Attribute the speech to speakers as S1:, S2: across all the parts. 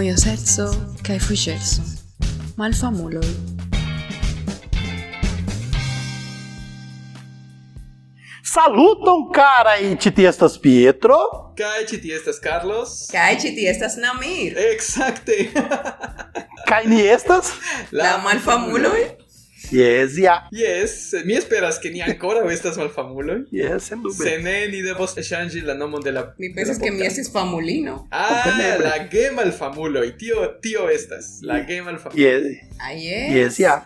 S1: mojoseco kaj fuĝeco, malfamuloj.
S2: Saluton, carai, ci ti estas Pietro.
S3: Kai ci ti estas Carlos.
S4: Kaj ĉi tie estas Namir.
S3: Exacte.
S2: Kai ni estas?
S4: La eh. malfamuloj?
S2: Yes, ja.
S3: Yes, mi esperas ke ni ancora estas malfamuloj.
S2: Yes, en
S3: Se ne ni devos ŝanĝi la nomon de la de
S4: Mi
S3: la
S4: pensas ke mi
S3: podcast.
S4: estis famulino.
S3: Ah,
S2: Kompreneble.
S3: la gemalfamuloj. Tio tio estas. La gemalfamuloj.
S2: Yes,
S4: Ah, yes.
S2: yes, ja.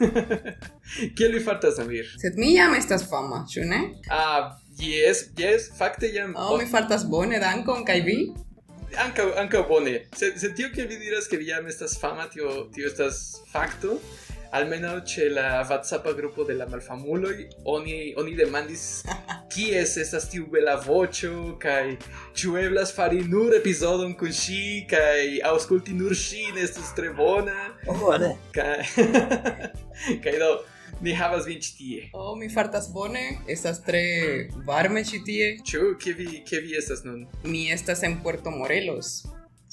S3: Kiel vi fartas, Amir?
S4: Sed mi jam estas fama, ĉu ne?
S3: Ah, yes, yes, fakte jam.
S4: Oh, mi fartas bone, dankon, kaj vi?
S3: Ankaŭ ankaŭ bone. Se se tio ke vi diras ke vi jam estas fama, tio tio estas fakto. Almenaŭ ĉe la WhatsApp grupo de la malfamuloj oni oni demandis kies estas tiu bela voĉo kaj ĉu eblas fari nur epizodon kun ŝi kaj aŭskulti nur ŝin estus tre bona
S2: Ora.
S3: kaj kaj do ni havas vin ĉi tie.
S4: Oh, mi fartas bone, estas tre varme ĉi tie.
S3: Ĉu ke vi ke vi estas nun
S4: eh. Mi estas en Puerto Morelos,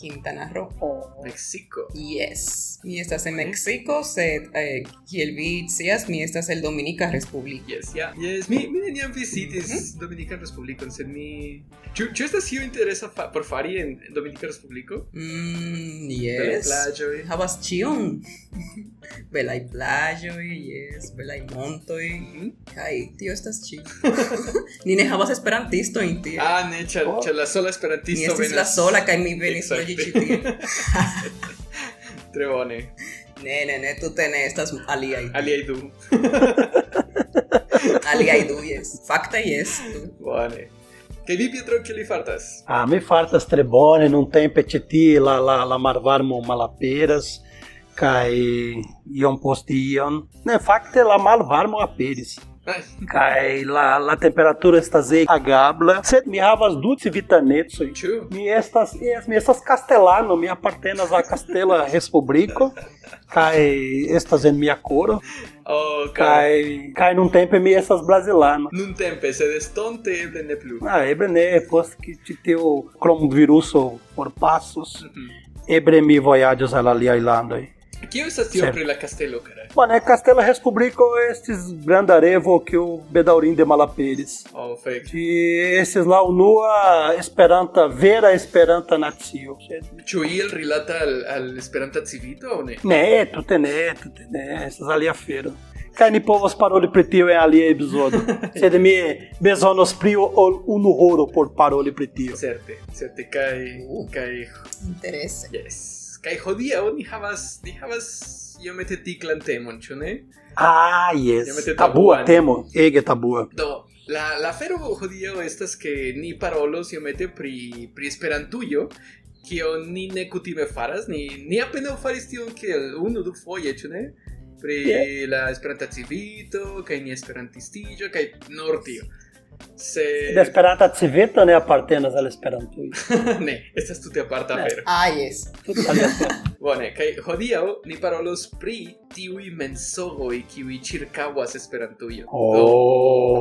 S4: Quintana Roo.
S3: Meksiko?
S4: Yes. Mi estas en Mexico, sed eh, kiel vi scias, mi estas el Dominica Respubliko.
S3: Yes, ja. Yes, mi mi neniam visitis
S4: Mhm.
S3: Dominican Respublikon, sed mi ĉu ĉu estas io interesa fa, por fari en en Dominican Respubliko?
S4: Mm,
S3: Belaj
S4: yes.
S3: plaĝoj.
S4: Havas ĉion. belaj plaĝoj, yes, belaj montoj.
S3: Mhm.
S4: Kaj tio estas ĉi. Ni ne havas esperantistojn tie.
S3: Ah, ne, ĉar
S2: Oh.
S3: ĉar la sola
S4: Mi
S3: esperantisto
S4: estis este la sola kaj mi venis
S3: Exacte.
S4: loĝi ĉi tie.
S3: Tre bone.
S4: Ne, ne, ne, tute ne estas aliaj.
S3: Aliaj du.
S4: Aliaj du, yes. Fakte yes. du.
S3: Bone. Kaj vi Pietro kiel li fartas?
S2: Ah, me fartas tre bone, non tem petiti la la la marvarmo malaperas kai ion post ion. Ne fakte la malvarmo aperis.
S3: Ai,
S2: Kai la la temperaturo estas agabla. Sed mi havas du civitanecoj.
S3: Ĉu?
S2: Mi estas, es, mi estas castelano, mi apartenas al Castela Respubliko, kai estas en mia coro,
S3: Oh, kaj
S2: kai, kai nun tempo mi estas brasilano.
S3: nuntempe sed estonte eble ne plu.
S2: Ah, ebre ne, post que te teu cromoviruso por passos, ebre mi voyages al alia ilandoi.
S3: Kio estas tio
S2: Sep.
S3: pri la kastelo, kara?
S2: Mano, é Castela Respublico estes grandarevo que o Bedaurim de Malaperes.
S3: Oh, fek.
S2: E esses lá o Nua Esperanta, Vera Esperanta Natio.
S3: Ĉu iel rilata al al Esperanta civito aŭ ne?
S2: Ne, tutte ne, tutte ne, essas ali a feira. Cai ni povos paroli é pretio en alia episodo. Sed mi bezonos pri ol unu horo por paroli pretio.
S3: Certe, certe kaj
S4: Oh.
S3: kaj
S4: Interese.
S3: Yes. Kai hodiaŭ ni havas ni havas iomete tiklan temon, ĉu ne?
S2: Ah, yes.
S3: Io metto
S2: Tabua né?
S3: tabua.
S2: temo, ege tabua.
S3: Do, la la afero hodiaŭ estas ke ni parolos iomete pri pri Esperantujo, kio ni ne kutime faras, ni ni apenaŭ faris tion kiel unu du foje, ĉu ne? Pri
S2: Yeah.
S3: la Esperanta civito, kaj ni esperantistiĝo, kaj nur tio. Se
S2: Da Esperanta Civita ne apartenas al Esperanto.
S3: ne, estas tute aparta
S2: Ne.
S3: afero.
S4: Ah, yes.
S2: Tudo tá ali
S3: Bone, kaj hodiaŭ oh, ni parolos pri tiuj mensogoj kiuj ĉirkaŭas Esperantujo. Do,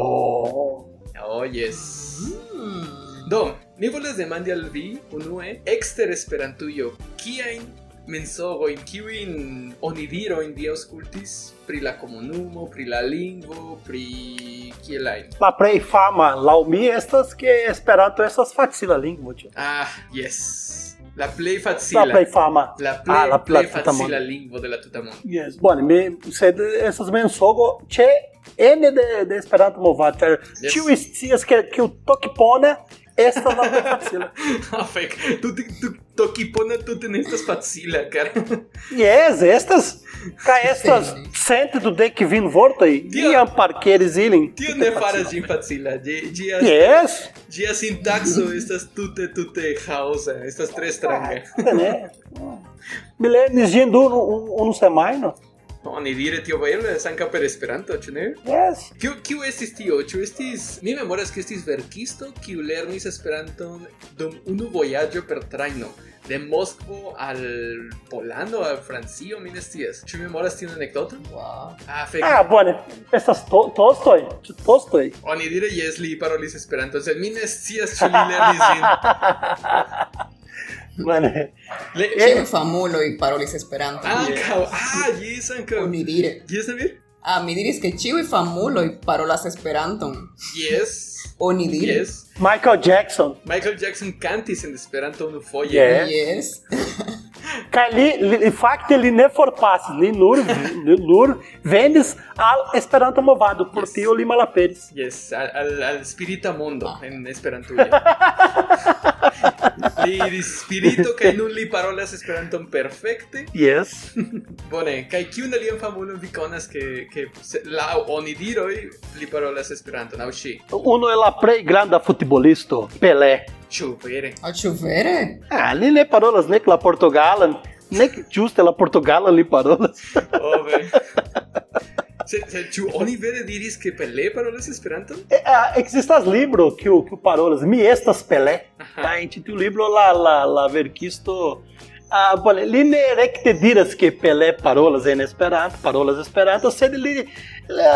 S2: Oh.
S3: Oh, yes.
S4: Mm.
S3: Do, ni volas demandi al vi unue ekster Esperantujo kiajn mensogojn, kiujn onidirojn vi aŭskultis pri la komunumo, pri la lingvo, pri kielajn.
S2: La plej fama laŭ mi estas é ke Esperanto estas facila lingvo. ĉu?
S3: Ah, yes. La
S2: La
S3: plej facila.
S2: plej fama.
S3: La plej
S2: Ah, la
S3: plej
S2: tuta
S3: facila
S2: mondo.
S3: lingvo de la tuta mondo.
S2: Yes. Bone, mi sed estas mensogo ĉe ene de de Esperanto movata.
S3: Yes.
S2: Ĉiu scias ke ke o tokpone estas la plej facila.
S3: Afek, tu tu tokipona tute ne estas facila, cara.
S2: Yes, estas kaj estas
S4: Sim.
S2: cent du dek vin vortoj
S3: Tio-
S2: iam parkeris ilin.
S3: Tio ne faras ĝin facila. Ĝi ĝi as-
S2: Yes.
S3: Gia sintaxo estas tute tute jaosa, estas tre stranga.
S2: né? Milênios de Hindu um, um no semaino.
S3: Oni dire tio vere ankaŭ per Esperanto, ĉu ne?
S2: Yes.
S3: Kiu kiu estis tio? Ĉu estis este mi memoras ke estis verkisto kiu lernis Esperanton dum unu vojaĝo per trajno. De Moskvo al Polando, al Francio, mi ne scias. Ĉu memoras tiun anekdoton?
S4: Wow.
S3: Ah, fek.
S2: Ah, bone. Estas to, Tolstoi. Tolstoi.
S3: Oni dire jes li parolis Esperanton, sed mi ne scias ĉu li lernis ĝin.
S2: Mane.
S3: Le-
S2: Eh.
S4: Ĉiuj famuloj parolis Esperanton.
S3: Ankaŭ. Ah, yes, ankaŭ.
S4: Oni dire.
S3: Yes, David?
S4: Ah, mi diris que ĉiuj famuloj parolas Esperanton.
S3: Yes.
S4: Oni dire.
S3: Yes.
S2: Michael Jackson.
S3: Michael Jackson cantis en Esperanto unufoje.
S2: Yeah.
S4: Yes.
S2: Kaj li, li, li fakte li ne forpasis, li nur, li nur venis al Esperanto movado, por tio li malaperis.
S3: Yes, al, al, al spirita mondo en Esperanto. li diris spirito kaj nun li parolas Esperanton perfekte.
S2: Yes.
S3: Bone, kaj kiun alian famulon vi konas ke ke se- laŭ onidiroj li parolas Esperanton aŭ ŝi?
S2: Uno é la plej granda futbolisto, Pelé.
S3: Ĉu vere?
S4: Aŭ ĉu vere?
S2: Ah, li ne parolas nek la portugalan, nek ĝuste la portugala li parolas.
S3: Oh, vere. Se, se, ĉu oni vere diris ke Pelé parolas Esperanton?
S2: É, ah, Ekzistas libro que o que o parolas Mi estas Pelé. Tá en tiu libro la la la verkisto Ah, bone, li ne rekte diras ke Pelé parolas en Esperanto, parolas é Esperanto, sed li la,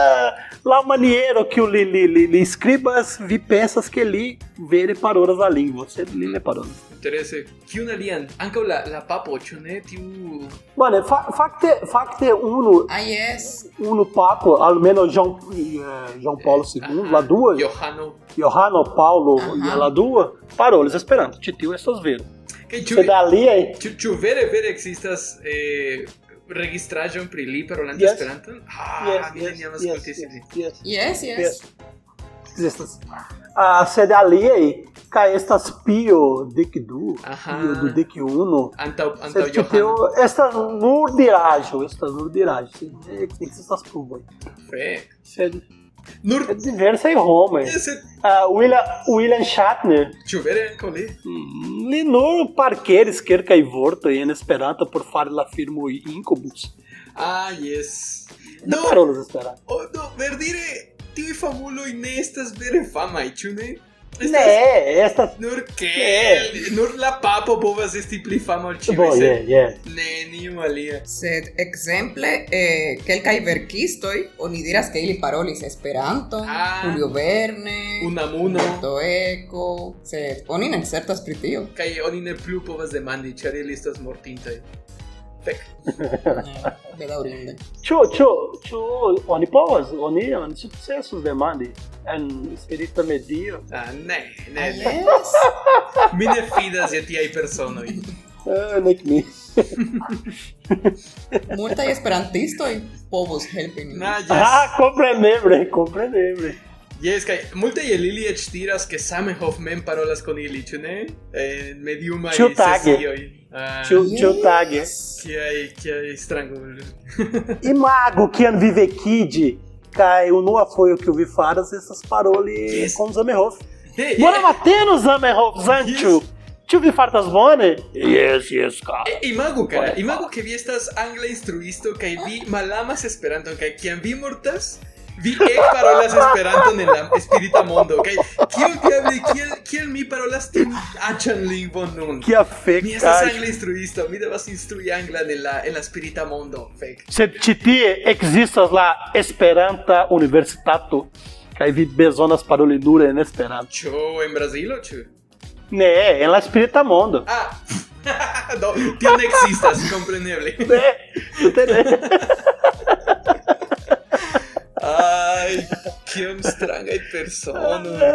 S2: la maniero que li, li, li, li skribas, vi pensas que li vere parolas la lingvo, sed li ne parolas.
S3: Interese. Kiun alian? Ankaŭ la la papo, ĉu ne tiu
S2: Bone, fa, fakte fakte unu
S4: Ah, yes.
S2: unu papo, almeno Jean, eh, Jean Paulo II, la dua,
S3: Johano?
S2: Johano ah, Paulo
S4: Aha.
S2: e la dua, parolis Esperanto, ĉi tiu estas vero.
S3: Kaj ĉu
S2: Sed aliaj
S3: ĉu, ĉu vere vere ekzistas eh, registraĵon pri li parolante
S2: Yes.
S3: Esperanton? Ah,
S2: Yes,
S3: mi
S2: yes,
S3: neniam
S2: yes,
S3: aŭskultis
S2: yes,
S3: ilin.
S2: yes.
S4: Yes, yes.
S2: Yes. Estas. Ah, sed aliaj kaj estas Pio Dekdu,
S3: Aha.
S2: Pio du Dekunu.
S3: Antaŭ antaŭ
S2: Sed ĉi tio
S3: Johano.
S2: estas nur diraĵo, estas nur diraĵo, sed ne ekzistas pruvoj.
S3: Fe.
S2: Sed
S3: Nur eh,
S2: diversaj homoj.
S3: sed
S2: Ah, William, William Shatner
S3: Ĉu vere ankaŭ li?
S2: Li nur parqueres kelkaj vortoj en Esperanto por fari la firmo Incubus.
S3: Ah, yes.
S2: Ne
S3: No,
S2: parolas Esperanto.
S3: oh, no, verdire, tiuj famuloj ne estas vere famaj, ĉu ne?
S2: Né,
S3: Estas
S2: Ne, estas
S3: nur ke,
S2: Ne.
S3: nur la papo povas esti pli fama ol ĉiuj,
S2: Bo, yeah,
S3: sed
S2: yeah.
S3: neniu alia.
S4: Sed ekzemple eh, kelkaj verkistoj oni diras ke ili parolis Esperanton,
S3: Ah.
S4: Julio Verne,
S3: Unamuno,
S4: Umberto Eco, sed oni ne certas pri tio.
S3: kaj oni ne plu povas demandi, ĉar ili estas mortintaj. Fek.
S4: Bela orinde.
S2: Ĉu ĉu ĉu oni povas, oni oni É, sukcesus demandi en spirita medio.
S3: Ah, ne,
S4: Ah,
S3: ne, ne.
S4: yes.
S3: Mi ne fidas je tiaj personoj.
S2: Eh, nek mi.
S4: Multaj esperantistoj povus helpi nin.
S3: Na, jes.
S2: Ah, kompreneble, kompreneble.
S3: Yes, kaj multaj el ili eĉ diras ke Zamenhof mem parolas kun ili, ĉu ne? En mediumaj
S2: Ĉiutage.
S3: sesioj. Ah,
S2: Ĉu
S4: Yes.
S2: ĉu tage.
S3: Kiaj, kiaj strangulo.
S2: Imago kian vi vekidi kaj unua fojo kiu vi faras estas paroli
S3: Yes.
S2: kun Zamenhof.
S3: Ne,
S2: Bora
S3: yeah.
S2: mateno Zamenhof, Zancho. Ĉu vi fartas bone? Yes, yes, cara.
S3: Imagu, eh, cara, imagu ke vi estas angla instruisto kaj vi malamas Esperanton kaj kiam vi mortas, vi ekparolas Esperanton en la spirita mondo. Kaj kiel diable, kiel kiel mi parolas tiun aĉan lingvon nun?
S2: Que a
S3: Mi estas
S2: feca.
S3: angla instruisto, mi devas instrui anglan en la, en la spirita mondo, fek.
S2: Se titie existas la Esperanta Universitato, kaj vi bezonas paroli nure en Esperanto.
S3: Ĉu en Brazilo, ĉu?
S2: Ne, en Né, é la Espírita Mondo.
S3: Ah! no, tio ne ekzistas, kompreneble.
S2: Ne, tute ne.
S3: Ai, kiom strangaj personoj.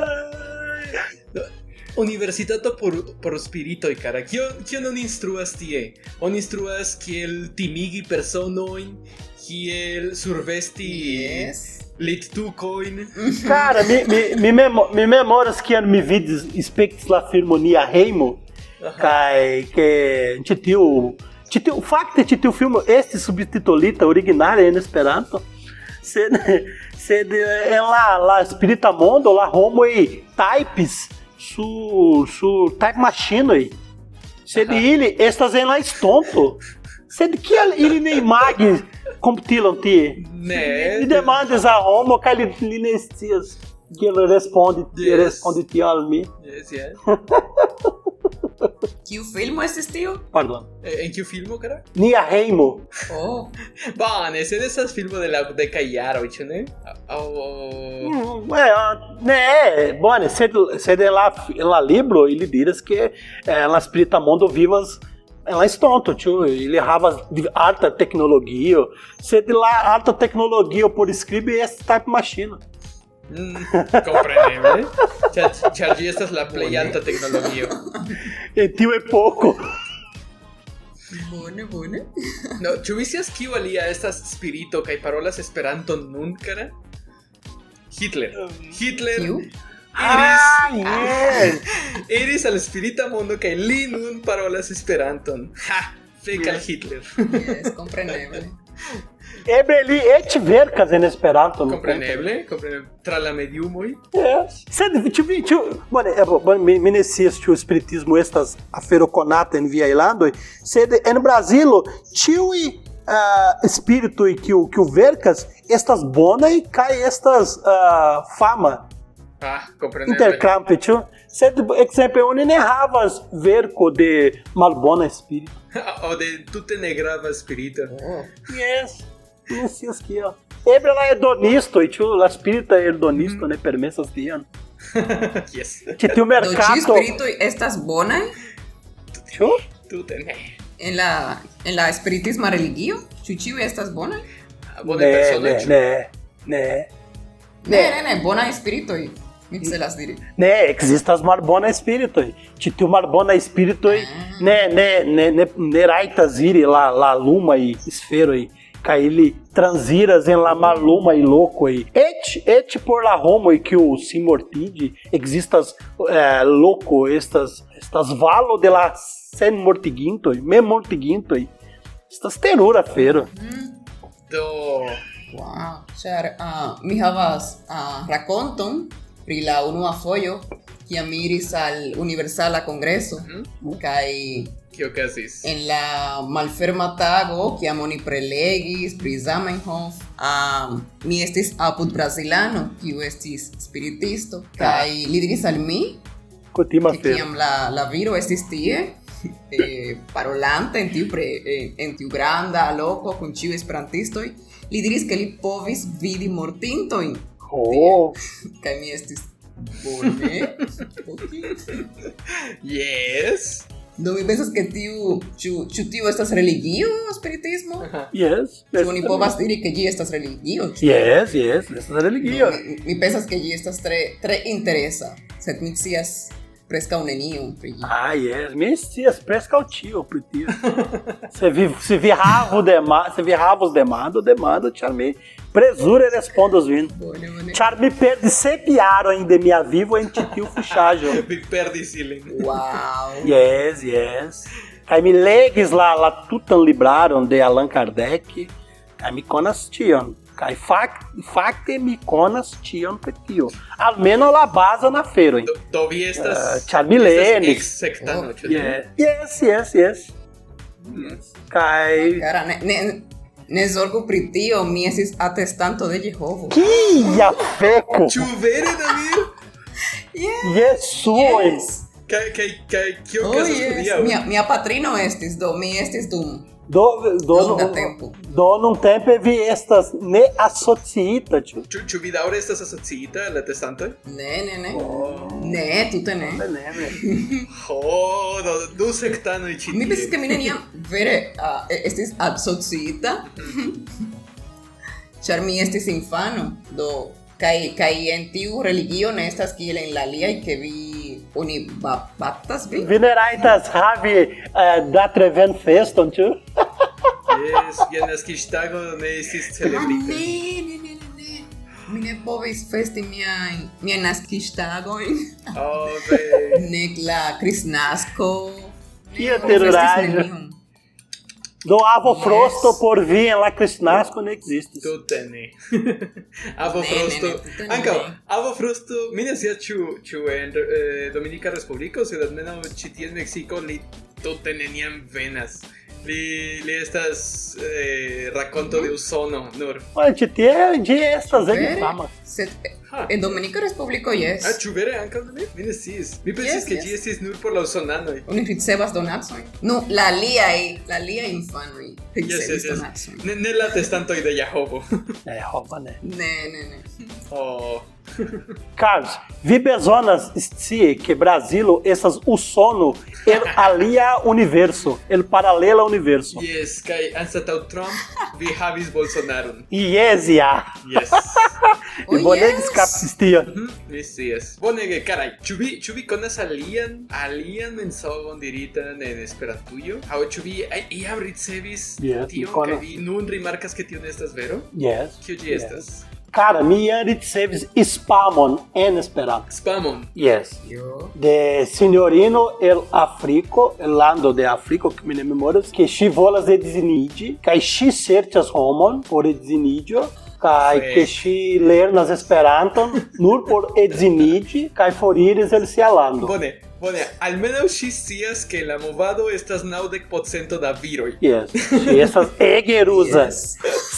S3: Universitato por, por spiritoj, cara. Kion, kion oni instruas tie? Oni instruas kiel timigi personojn, kiel survesti
S4: Yes.
S3: littukojn.
S2: Cara, mi, mi, mi, memo, mi memoras kiam mi vidis spektis la filmon Nia Heimo, kaj ke ĉi tiu ĉi tiu fakte ĉi tiu filmo estis subtitolita originale en Esperanto. Sed sed eh, en la la Spirita Mondo la homoj types su su type machinoj. Sed ili estas en la é estonto. Sed kiel ili ne imagis komputilan tie?
S3: Ne.
S2: Mi demandas a homo kaj li, li ne scias kiel respondi yes.
S3: Yes.
S2: respondi tial mi.
S3: Yes, yes.
S4: Kiu filmo este tío?
S2: Pardon.
S3: Eh, ¿En qué filmo, cara?
S2: Nia Heimo.
S4: Oh,
S3: Bane, se dessas filmes de la de Ah, Caiaro, né? oh, Ao...
S2: Hum, é, ah, né, bueno, se, se ela, ela libro, ele diz que eh, elas prita mundo vivas, elas tonto, tio, ele errava de alta tecnologia, se de lá alta tecnologia por escribe esse type machina.
S3: Hum, compreendemos, né? ¿eh? Char- Charlie, esta es la play alta tecnología.
S2: E tio é pouco.
S4: bueno, bueno.
S3: No, chuvisias que valía estas spirito que parolas esperanto nun, cara? Hitler. Hitler.
S4: Kiu?
S3: Iris,
S2: Ah, yes!
S3: iris al spirita mundo que li nun parolas esperanton. Ha! Fake al Hitler.
S4: Yes, comprendible.
S2: Ebeli et verkas en Esperanto. no
S3: Compreneble, compreneble. Tra la mediumoj.
S2: É. Sed, ĉu vi, ĉu, bone, evo, bone, é mi, mi ne scias ĉu spiritismo estas afero konata en viaj landoj, sed en Brazilo ĉiuj uh, spiritoj kiu, kiu verkas estas bonaj kaj estas uh, fama
S3: Ah, compreneble.
S2: interkampe, ĉu? Sed, ekzemple, oni ne né, havas verko de malbona spirito.
S3: o de tute ne grava spirito.
S4: Oh.
S2: Yes. Ne scias kiel. Eble la hedonisto, ĉu la spirita hedonisto ne permesas tion.
S3: yes.
S2: Ĉi tiu
S4: Do chi
S2: merkato,
S4: spirito estas bonaj
S2: ĉu?
S3: Tute ne.
S4: en la en la spiritisma religio? Ĉu ĉiuj estas bonaj?
S3: Bone
S2: Ne,
S4: né,
S3: persono,
S2: ne,
S3: ĉu?
S2: ne, ne.
S4: Ne, ne, ne, bonaj spiritoj. Mi celas diri.
S2: Ne, existas malbona spiritoj. Ĉi tiu malbona spiritoj
S4: Ah.
S2: ne ne ne ne ne rajtas iri la la lumaj sferoj kaj ili transiras en la malumaj lokoj. Et et por la homoj kiu sin mortigi ekzistas eh, loko estas estas valo de la sen mortigintoj, mem mortigintoj. Estas terura fero.
S3: Do...
S4: Wow, ĉar ah, mi havas ah, rakonton pri la unua fojo kiam mi iris al Universala Kongreso kaj
S3: Kio okazis?
S4: en la malferma tago kiam oni prelegis pri Zamenhof um, mi estis apud brazilano kiu estis spiritisto kaj li diris al mi
S2: Kutima
S4: que
S2: fero.
S4: kiam la, la viro estis tie, eh, parolante en tiu, pre, eh, en tiu granda, loko, kun ĉiuj esperantistoj, li diris ke li povis vidi mortintojn.
S2: Oh,
S4: Kaj mi estis bone. okay.
S3: Yes.
S4: Do mi pensas ke tiu, ĉu ĉu tiu estas religio, spiritismo?
S2: yes.
S4: Ĉu oni povas diri ke ĝi estas religio?
S2: Yes, yes, estas religio.
S4: Do, mi, mi pensas ke ĝi estas tre tre interesa, sed mi scias preskaŭ nenion pri ĝi.
S2: Ah, yes. Messias, prescal tio, pretio. se, vi, se virrava o demado, se virrava os demado, o demado te amei. Presura responda os vindo.
S4: Bone, bone.
S2: Charme perde sepiaro ainda minha vivo em titio fuchajo.
S3: Mi perdis ilin.
S4: Wow.
S2: Yes, yes. Aí me legues lá, lá tutan libraram de Allan Kardec. Aí me conas tion. Aí fac, facte me conas tion pretio. Almeno la basa na feira, hein?
S3: Do, do vi estas...
S2: Ah, ĉar mi lernis.
S4: Oh,
S3: Sektano, ĉu ne?
S2: Yeah. Yes, yes, yes. Kai
S4: Cara, ne, ne, ne zorgu pri tio, mi estis atestanto de Jehovo.
S2: Ia feco!
S3: Ĉu vere, David?
S4: Yes,
S2: Jesui!
S3: Kaj kaj kaj kio
S4: Oh,
S3: okazas
S4: yes.
S3: hodiaŭ?
S4: Mia, mia patrino estis do, mi estis dum.
S2: Do, do,
S4: Longa tempo.
S2: do num tempo é vi estas ne associita, tio.
S3: Ĉu ĉu vi daŭre estas asociita al la testantoj?
S4: Ne, ne, ne.
S3: Oh.
S4: Ne, tute ne.
S3: Ho, do, du sektanoj ĉi
S4: Mi pensis
S3: tie.
S4: ke mi neniam vere uh, estis absociita. Ĉar mi estis infano, do kaj kaj en tiu religio ne estas kiel en la aliaj ke vi oni ba- baptas vi.
S2: Veneraitas Ravi uh, da Treven Feston, tio.
S3: Yes, jen naskiĝtago ne estis
S4: Ah,
S3: celebrita.
S4: ne, ne, ne, ne, ne. Mi ne povis festi miajn miajn naskiĝtagojn,
S3: Oh, ve.
S4: nek la kristnasko. Ne
S2: Kia
S4: povis festi
S2: teruraĵo.
S4: nenion.
S2: Do Avo
S4: Yes.
S2: Frosto por vi em La Crisnasco não existe.
S3: Tute ne. Avo
S4: Ne, ne,
S3: Frosto.
S4: ne, tute ne.
S3: Ankaŭ Avo Frosto, mi ne scias ĉu ĉu en eh, Dominika Respubliko, sed almenaŭ ĉi tie en Meksiko li tute neniam venas. li, li estas eh, racconto
S4: Mhm.
S3: de usono, nur.
S2: Ma ci tie, ci estas en
S4: Vere?
S2: fama.
S4: Sed, eh,
S3: Ha.
S4: en Dominika Respubliko
S3: Ah,
S4: jes.
S3: ĉu vere ankaŭ ne? Mi ne sciis. Mi pensis
S4: Yes,
S3: ke
S4: yes.
S3: ĝi estis nur por la usonanoj.
S4: Oni ricevas donacojn. Nu, la aliaj, la aliaj infanoj
S3: Yes, yes,
S4: ricevis
S3: yes.
S4: donacojn.
S3: Ne, ne la testantoj de Jahovo.
S2: É, rouba, né?
S4: Ne, ne, ne.
S3: oh.
S2: Carlos, vi bezonas scie que Brasilo essas o sono el alia universo, el paralela universo.
S3: Yes, kaj anstataŭ Trump vi havis Bolsonaron.
S2: Yes, ja.
S3: Yes.
S4: Oh,
S2: E bolegas
S4: yes.
S2: capsistia.
S3: Mhm, Mi scias. Bonege, karaj. Ĉu vi ĉu vi konas alian alian mensogon diritan en Esperantujo? Aŭ ĉu vi eh, iam ricevis
S2: Yes, mi
S3: tion
S2: konas.
S3: kaj vi nun rimarkas ke tio ne estas vero?
S2: Yes.
S3: Kio ĝi
S2: yes.
S3: estas?
S2: Cara, mi ricevis spamon en Esperanto.
S3: Spamon.
S2: Yes.
S4: Yo.
S2: De signorino el Afriko, el lando de Afriko, que mi ne memoras, que si volas edzinigi, kaj si serĉas homon por edzinigio, kaj
S3: Fek.
S2: que si lernas Esperanton nur por edzinigi, kaj foriris el sia lando.
S3: Bone, bone. Almenaŭ ŝi scias ke la movado estas naŭdek procento da viroj.
S2: Yes. Si estas ege ruza.
S4: Yes.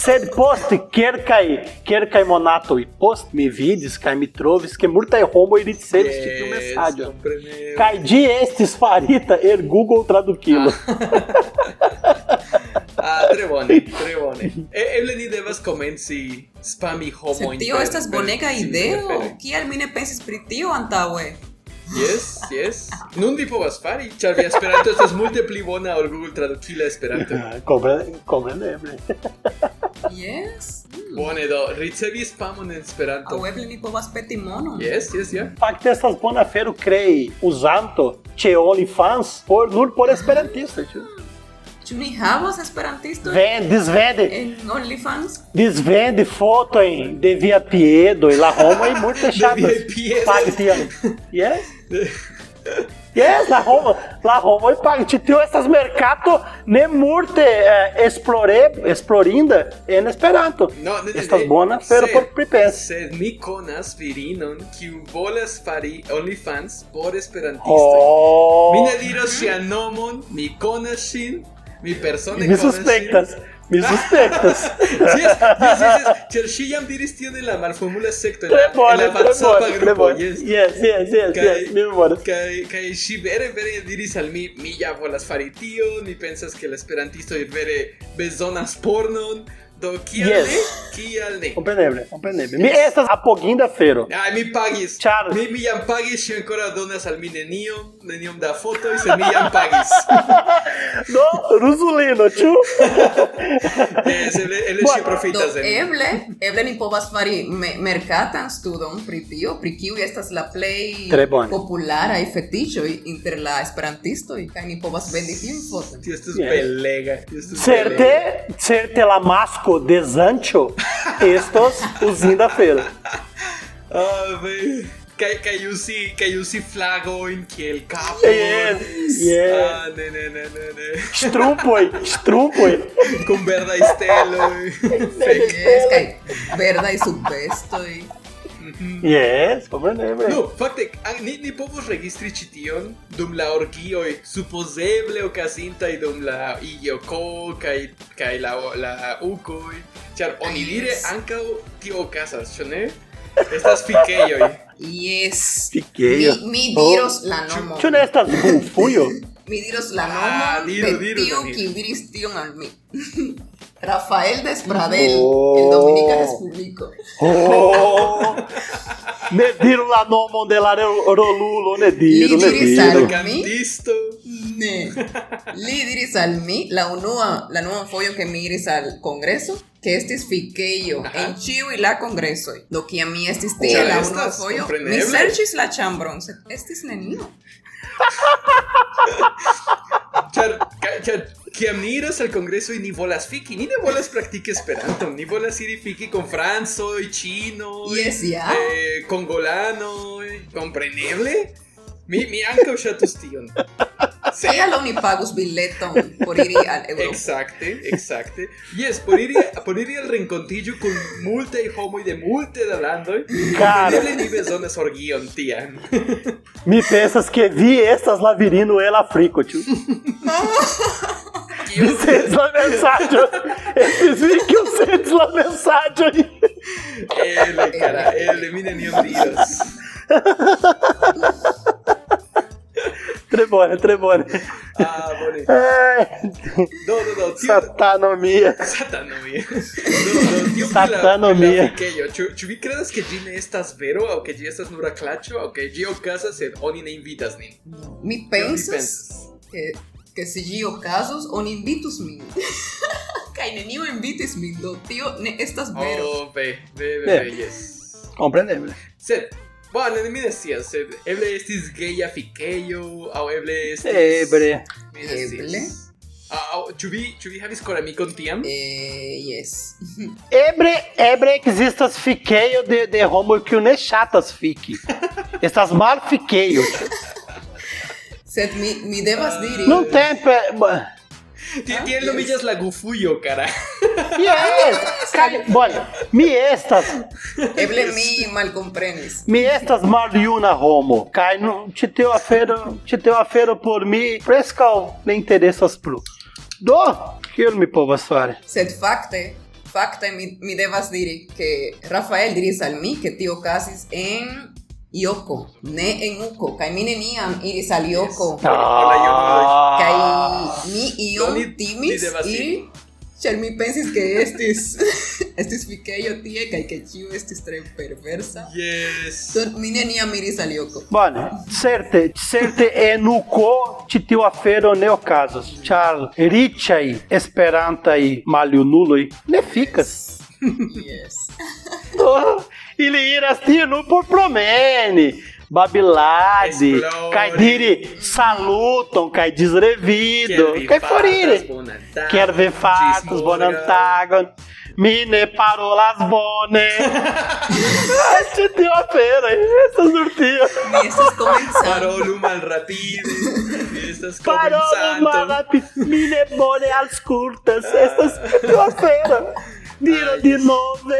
S2: Sed post kelkaj kelkaj monatoj post mi vidis kaj mi trovis ke multaj homoj ricevis yes. tiu mesaĝon.
S3: kompreneble.
S2: Kaj ĝi estis farita el Google Tradukilo.
S3: Ah, tre bone, tre bone. E, eble ni devas komenci spami homojn.
S4: Sed tio
S3: per-
S4: estas
S3: per-
S4: bonega
S3: sin
S4: ideo.
S3: preferi.
S4: Kial mi ne pensis pri tio antaŭe?
S3: Yes, yes. Nun vi povas fari, ĉar via Esperanto estas multe pli bona ol Google tradukila Esperanto.
S2: Ah, compre- Kompreneble.
S4: Yes.
S3: Bone do, ricevi spamon en Esperanto.
S4: Aŭ eble mi povas peti monon.
S3: Yes, yes, ja.
S2: Fakte estas bona fero krei uzanto ĉe OnlyFans por nur por esperantistoj. ĉu?
S4: Ĉu ni havas esperantistojn
S2: Ven, disvende,
S4: en OnlyFans?
S2: disvende fotojn de via piedo e la homo e multe chatas.
S3: piedoj.
S2: Pague tiam. Yes. Yes, la Roma, la Roma e paga. Te teu essas mercato ne multe eh, explore, explorinda en Esperanto.
S3: No, ne, ne,
S2: Estas
S3: ne.
S2: bona fero
S3: Sed-
S2: por pripensi.
S3: Sed mi konas virinon kiu volas fari OnlyFans por esperantistoj.
S2: Oh,
S3: Mi ne diros ŝian nomon, mi konas ŝin, mi persone
S2: me
S3: konas ŝin.
S2: suspectas, me suspectas.
S3: Sí, es, yes, yes, yes. Ĉar ŝi jam diris tion en la malformula sekto, en la,
S2: Tre bone,
S3: en la
S2: tre
S3: WhatsApp
S2: bone, tre
S3: grupo,
S2: bone.
S3: yes.
S2: Yes, yes, yes, yes, mi memoras.
S3: Kaj, kaj ŝi vere, vere diris al mi, mi ja volas fari tion, mi pensas que la esperantisto vere bezonas pornon, do kial
S2: Yes.
S3: ne, kial ne.
S2: Compreneble, compreneble. Mi estas apoginda fero.
S3: Ai, mi pagis.
S2: Ĉar-
S3: Mi, mi jam pagis, ŝi ankoraŭ donas al mi nenion, neniom da fotoj, sed mi jam pagis.
S2: Do, Rusulino, ĉu?
S3: Yes, eble, eble
S2: Bueno,
S3: ŝi
S4: Do
S3: profitas de mi.
S4: eble, eble ni povas fari me, merkatan studon pri tio, pri kiu estas la plej
S2: Tre bone.
S4: popularaj fetiĉoj inter la esperantistoj kaj ni povas vendi tiun foton.
S3: Tio estus
S2: Yes.
S3: belega. tio estus belega.
S2: Certe, certe la masco de Sancho, estos usinda feira.
S3: Ah, ve. Kaj kaj uzi, kaj uzi flagojn kiel kapo.
S2: Yes, yes.
S3: Ah, ne, ne, ne, ne, ne.
S2: Strumpoi, strumpoi.
S3: Kun verdaj steloj. Fek.
S4: Jes, kaj verdaj subvestoj.
S2: Yes, compreneble.
S3: No, fakte, an- ni, ni povos registri ĉi tion dum la orgioj, supozeble okazintaj dum la ioko kaj kaj la la ukoj, ĉar onidire
S4: Yes.
S3: ankaŭ tio okazas, ĉu ne? Estas fikejoj.
S4: Jes. Mi,
S2: Fiquei.
S4: mi diros la nomo.
S2: Ĉu ne estas bufujo?
S4: Mi diros la
S3: Ah,
S4: nomo
S3: diru,
S4: de
S3: diru,
S4: tiu
S3: Daniel.
S4: kiu diris tion al mi. Rafael Despradel,
S2: Oh.
S4: el Dominika Respubliko.
S2: Oh. Ne diru la nomon de la ro- rolulo, ne diru,
S4: Li
S2: ne
S4: diris
S2: diru.
S4: al-
S3: Kantisto.
S4: Ne. Li diris al mi la unua, la nueva foio que mi iris al congreso, que estis fiqueio
S3: Ajá.
S4: en chiu y la congreso. Do que a mi estis tie
S3: Hombre,
S4: la
S3: estas
S4: unua foio, mi
S3: compreneble.
S4: serchis la Este chambron, sed estis nenio.
S3: Char, ca- char, kiam ni iras al kongreso y ni volas fiki, ni ne volas praktiki Esperanto, ni volas iri fiki con franco y chino,
S4: Yes, ja.
S3: eh, congolano, compreneble? Mi, mi ankaŭ ŝatus tion. Se,
S4: Tial oni pagus bileton por iri al Eŭropo.
S3: exacte, exacte. Yes, por iri, por iri al renkontiĝo kun multaj homoj de multe da landoj,
S2: Cara.
S3: kompreneble ni bezonas orgion tian.
S2: Mi pensas que vi estas lavirino el africo, tio.
S3: mensagem.
S2: Vicentes la mensagem. Esses Vicentes la mensagem.
S3: L, cara, L, miren y hundidos.
S2: Tremone, tremone. É,
S3: Ah, Bonnie.
S2: Ai,
S3: No, no, no, tío.
S2: satanomia.
S3: Satanomia. No, no, tío,
S2: Satanomia.
S3: Pequeño. Ĉu ĉu vi credas que Gine estas vero aŭ que G estas nura clacho aŭ que G okazas sed oni ne invitas nin?
S4: Mi
S3: Mi
S4: pensas
S3: pensas.
S4: que, que se gio casos on invitus min. Kaj nenio invitis min, do tio ne estas vero.
S3: Oh, ve, ve, ve,
S2: Ve.
S3: ve, yes.
S2: Compreendemos.
S3: Sed, bueno, mi decías, sed, eble estis geia fikejo, aŭ eble estis...
S2: Ebre.
S3: mi ne
S4: Eble.
S3: scias. Aŭ, aŭ, ĉu Ah, vi, ĉu vi havis koramikon tiam?
S4: Eh, yes.
S2: Ebre, ebre existas fiqueio de, de homo que ne chatas fique. Estas mal fiqueio.
S4: Sed mi, mi devas
S3: Ah.
S4: diri.
S2: Não tem... Pe... ma-
S3: Ti-
S4: ah,
S3: Tiel nomiĝas la gufujo, cara.
S2: Yes! Cara, olha, me estas,
S4: Eble mi malcomprenis.
S2: me estas maliuna homo. Cai no, te teu afero, te teu afero por mim, prescal nem interessas plu. Do, que me povas fare.
S4: Sed fakte, fakte mi, mi devas diri que Rafael diris al mi que tio casis en Ioko, ne en Uko, kaj mi neniam iris al Ioko.
S3: Yes. Hola, Jonathan.
S4: Kaj mi iom
S3: Oni
S4: timis
S3: devas
S4: iri,
S3: iri.
S4: ĉar mi pensis que estis estis pikejo tie kaj ke ĉiu estis tre perversa.
S3: Yes.
S4: Do mi neniam iris al Ioko.
S2: Bueno, certe, certe é no co te teu afero neocasos. Char, richai, esperantai, malio nuloi, ne ficas.
S4: Yes.
S2: Do, ili iras tinu por promene. Babilade,
S3: Esplore.
S2: cai diri, salutam, cai desrevido,
S3: Kiel vi
S2: cai
S3: fartas,
S2: forire.
S3: bonan tagon,
S2: Quero ver fatos,
S3: ĝis morgaŭ.
S2: bonantagon. Mine parolas bone. Ai, Te teu afero, essa surtia.
S4: Mi estas komencado.
S3: Parolu malrapide. Vi estas
S2: Parou,
S3: komencanto.
S2: mano, mine bone as curtas, estas grosera. Diro de novo.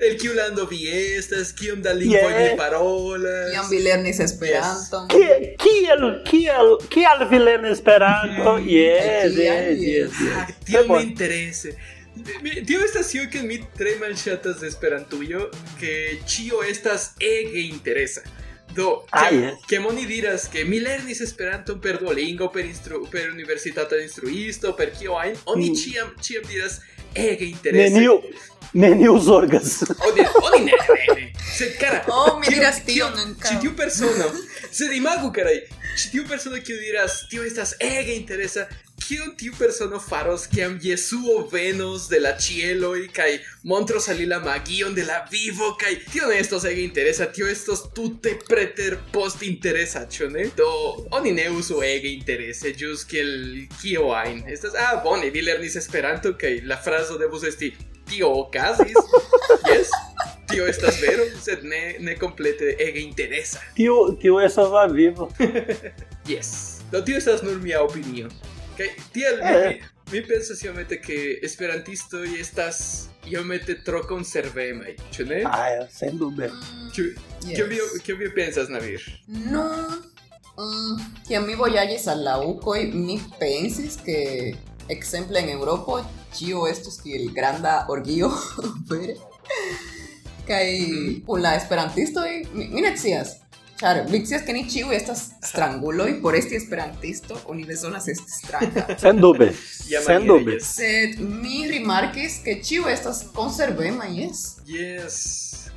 S3: El kiu lando vi estas, kiom da lingvoj
S2: Yeah.
S3: vi parolas.
S4: Iam vi lernis Esperanton.
S2: Que, kiel, kiel, kiel vi lerni Esperanto? Yes,
S4: Kial,
S2: yes, yes.
S3: Ah,
S2: yes.
S3: Tio me
S2: Tre bone.
S3: interese. Mi- Tio estas io que mi tre malŝatas de Esperantujo, que ĉio estas ege interesa. Do,
S2: Ah,
S3: ke,
S2: yes.
S3: ke oni diras que mi lernis Esperanton per Duolingo, per, instru, per universitata instruisto, per kio ajn, oni
S2: Mm.
S3: ĉiam, ĉiam diras ege E interese.
S2: Neniu, neniu zorgas.
S3: Oni, oni ne, ne, ne. Sed, cara,
S4: Oh, mi
S3: tio-
S4: diras
S3: tio-
S4: tion ankaŭ.
S3: Ĉi tiu persono, sed imagu, carai, ĉi tiu persono kiu diras, tio estas ege interesa, kion tiu persono faros kiam Jesuo venos de la ĉieloj kaj montros al li la magion de la vivo kaj tio ne estos ege interesa, tio estos tute preter post interesa, ĉu ne? Do oni ne uzu ege interese, ĵus kiel kio ajn. Estas ah bone, vi lernis Esperanto kaj la frazo devus esti tio okazis. Yes. Tio estas vero, sed ne ne komplete ege interesa.
S2: Tio, tio essas lá vivo.
S3: Yes. Do tio estas nur mia opinio. Kaj tiel mi,
S2: Eh.
S3: mi pensas iomete ke esperantistoj estas iomete tro konservemaj, ĉu ne?
S2: Ah, sem dúvida.
S3: Ĉu kion vi
S4: Mm, Yes.
S3: kion vi pensas, Navir?
S4: No. Mm, kiam mi vojaĝis al la ukoj, mi pensis ke ekzemple en Eŭropo ĉio estus kiel granda orgio vere. Kaj kun la esperantistoj mi, mi ne scias. Ĉar vi scias ke ni ĉiuj estas stranguloj por esti esperantisto, oni bezonas esti stranga.
S2: Sem dúvida.
S3: Ja
S2: Sem
S3: maniere,
S2: dúvida.
S4: Sed mi rimarkis ke ĉiu estas konservema, jes.
S3: Yes.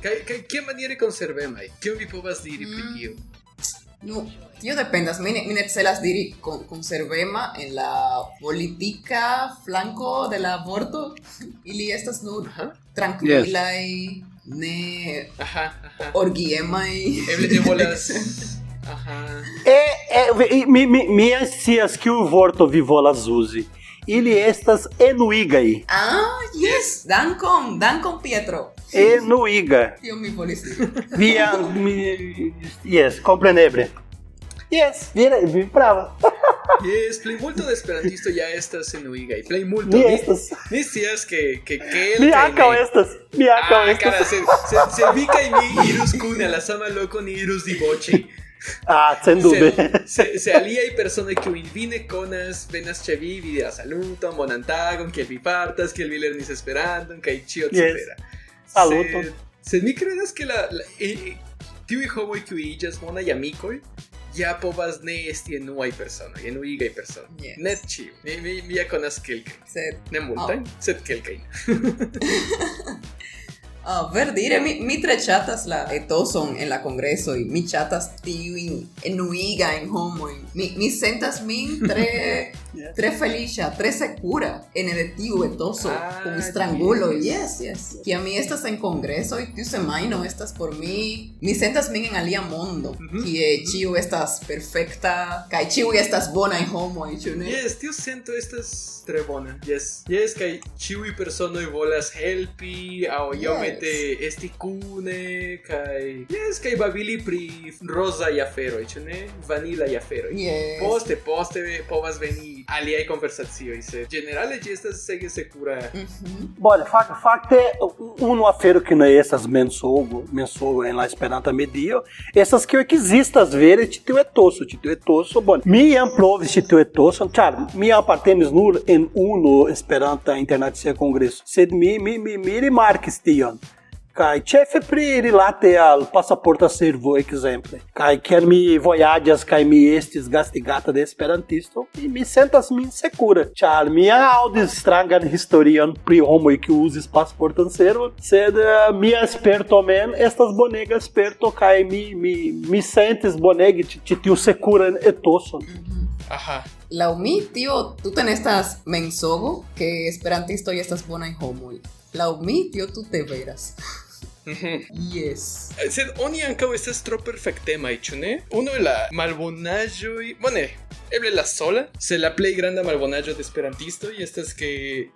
S3: Kaj kaj kiam maniere konservemaj? Kion vi povas diri pri
S4: Mm.
S3: tio?
S4: No, tio dependas. Mi ne, mi ne celas diri con, conservema en la politica flanco de la aborto. Ili estas nur tranquilai, ne
S3: Aha, aha.
S4: orgiemai.
S3: Eble ne volas. Aha.
S2: É, é, e mi, mi, minhas cias que o Vorto Vivolas use. Ili estas enuigai.
S4: Ah, yes! Dankon, dankon Pietro.
S2: Enuiga.
S4: Tio mi volis diri.
S2: Via. Mi, yes, compreneble. Yes, vira, vi prava.
S3: Yes, plejmulto de esperantisto ja estas en Uigaj. Plejmulto.
S2: Mi
S3: Ni,
S2: estas.
S3: ni scias ke ke ke
S2: Mi ankaŭ estas. Mi ankaŭ
S3: tá Ah, cara,
S2: estas.
S3: se, se, se vi kaj mi irus kune al la sama loko ni irus diboĉi.
S2: Ah, sem dúvida.
S3: Se, se aliai persone che invine conas venas che vi vidas saluton, bonantagon, che vi partas, che vi lernis esperandon, che cio,
S2: Yes.
S3: etc.
S2: Saluton.
S3: Se, se mi credas che la... la eh, tiui homoi qui igas mona y amicoi, ja povas ne esti en uai personoi, en uigai personoi.
S4: Yes.
S3: Net ciu. Mi, mi, mi ja conas kelkajn.
S4: Sed,
S3: Ne multajn, sed kelkajn.
S4: a ver, dire, mi, mi tre chatas la etoson en la congreso y mi chatas tiuin en uiga en homo. Mi, mi sentas min tre,
S2: Yes.
S4: tre felicia, tre secura en el tiu etoso
S3: Ah,
S4: con strangulo.
S3: yes.
S4: Yes, yes. Que a mí estas en congreso y tu semaino estas por mí. Mi sentas min en alia mondo.
S3: Mhm.
S4: Que chiu estas perfecta, kai chiu estas bona en homo y chune.
S3: Yes, tio sento estas tre bona. Yes. Yes, kai ĉiuj personoj volas helpi aŭ
S4: Yes.
S3: iomete esti kune kaj yes, kaj babili pri rozaj aferoj, ĉu ne? Vanilaj aferoj.
S4: Yes.
S3: Poste, poste povas veni aliaj konversacioj, sed ĝenerale ĝi estas ege sekura.
S4: Mhm.
S2: Bora, fac, facte um afero que não é essas mensogo, mensogo em lá esperanta medio, essas que existem às vezes, titio é tosso, titio é tosso, bom. Mi jam provis titio é tosso, char, mi apartenis nur en unu esperanta internacia congreso, sed mi, mi, mi, mi rimarkis tion. Kai chefe pri rilate al pasaporta servo exemple. Kai quer mi vojaĝas kaj mi estis gastigata de esperantisto e mi sentas min secura. Ĉar mi aŭdis strangan historion pri homoj kiu uzis pasporton servo, sed eh, mia sperto mem estas bonega sperto kaj mi mi mi sentis bonege ĉi ĉi tiu securan etoson.
S3: Aha.
S4: La umi, tío, tú ten estas mensogo que esperantisto y estas bona en homo. La umi, tío, tú te veras. Yes.
S3: Sed Eh, oni ankaŭ estas tro perfektemaj, ĉu ne? Unu el la malbonaĵoj, bone, eble eh, la sola, sed la plej granda malbonaĵo de este esperantistoj estas ke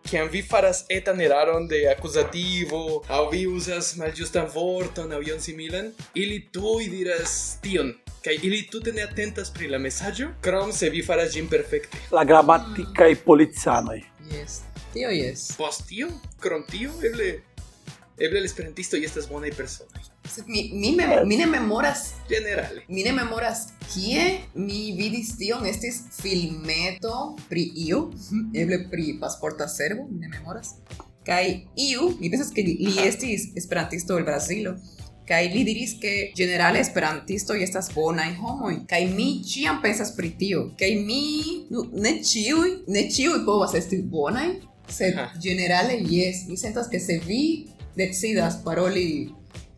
S3: kiam vi faras etan eraron E de akuzativo aŭ vi uzas maljustan vorton aŭ ion similan, ili tuj diras tion. Kaj ili tute ne atentas pri la mesaĝo, krom se vi faras ĝin perfekte.
S2: La gramatica e polizanoj.
S4: Yes. Tío, yes.
S3: Post tio, krom tio, eble... Eble la esperantisto estas bonaj personoj.
S4: Sed Mi, mi, me, mi ne memoras,
S3: Ĝenerale.
S4: mi ne memoras kie mi vidis tion estis filmeto pri iu, eble pri pasporta servo, mi ne memoras. Kai iu, mi pensas que li estis esperantisto el Brazilo. Kaj li diris que generale esperantisto y estas bonaj homoj kaj mi ĉiam pensas pri tio kaj mi nu, ne ĉiuj ne ĉiuj povas esti bonaj sed
S3: Aha.
S4: generale jes mi sentas que se vi decidas paroli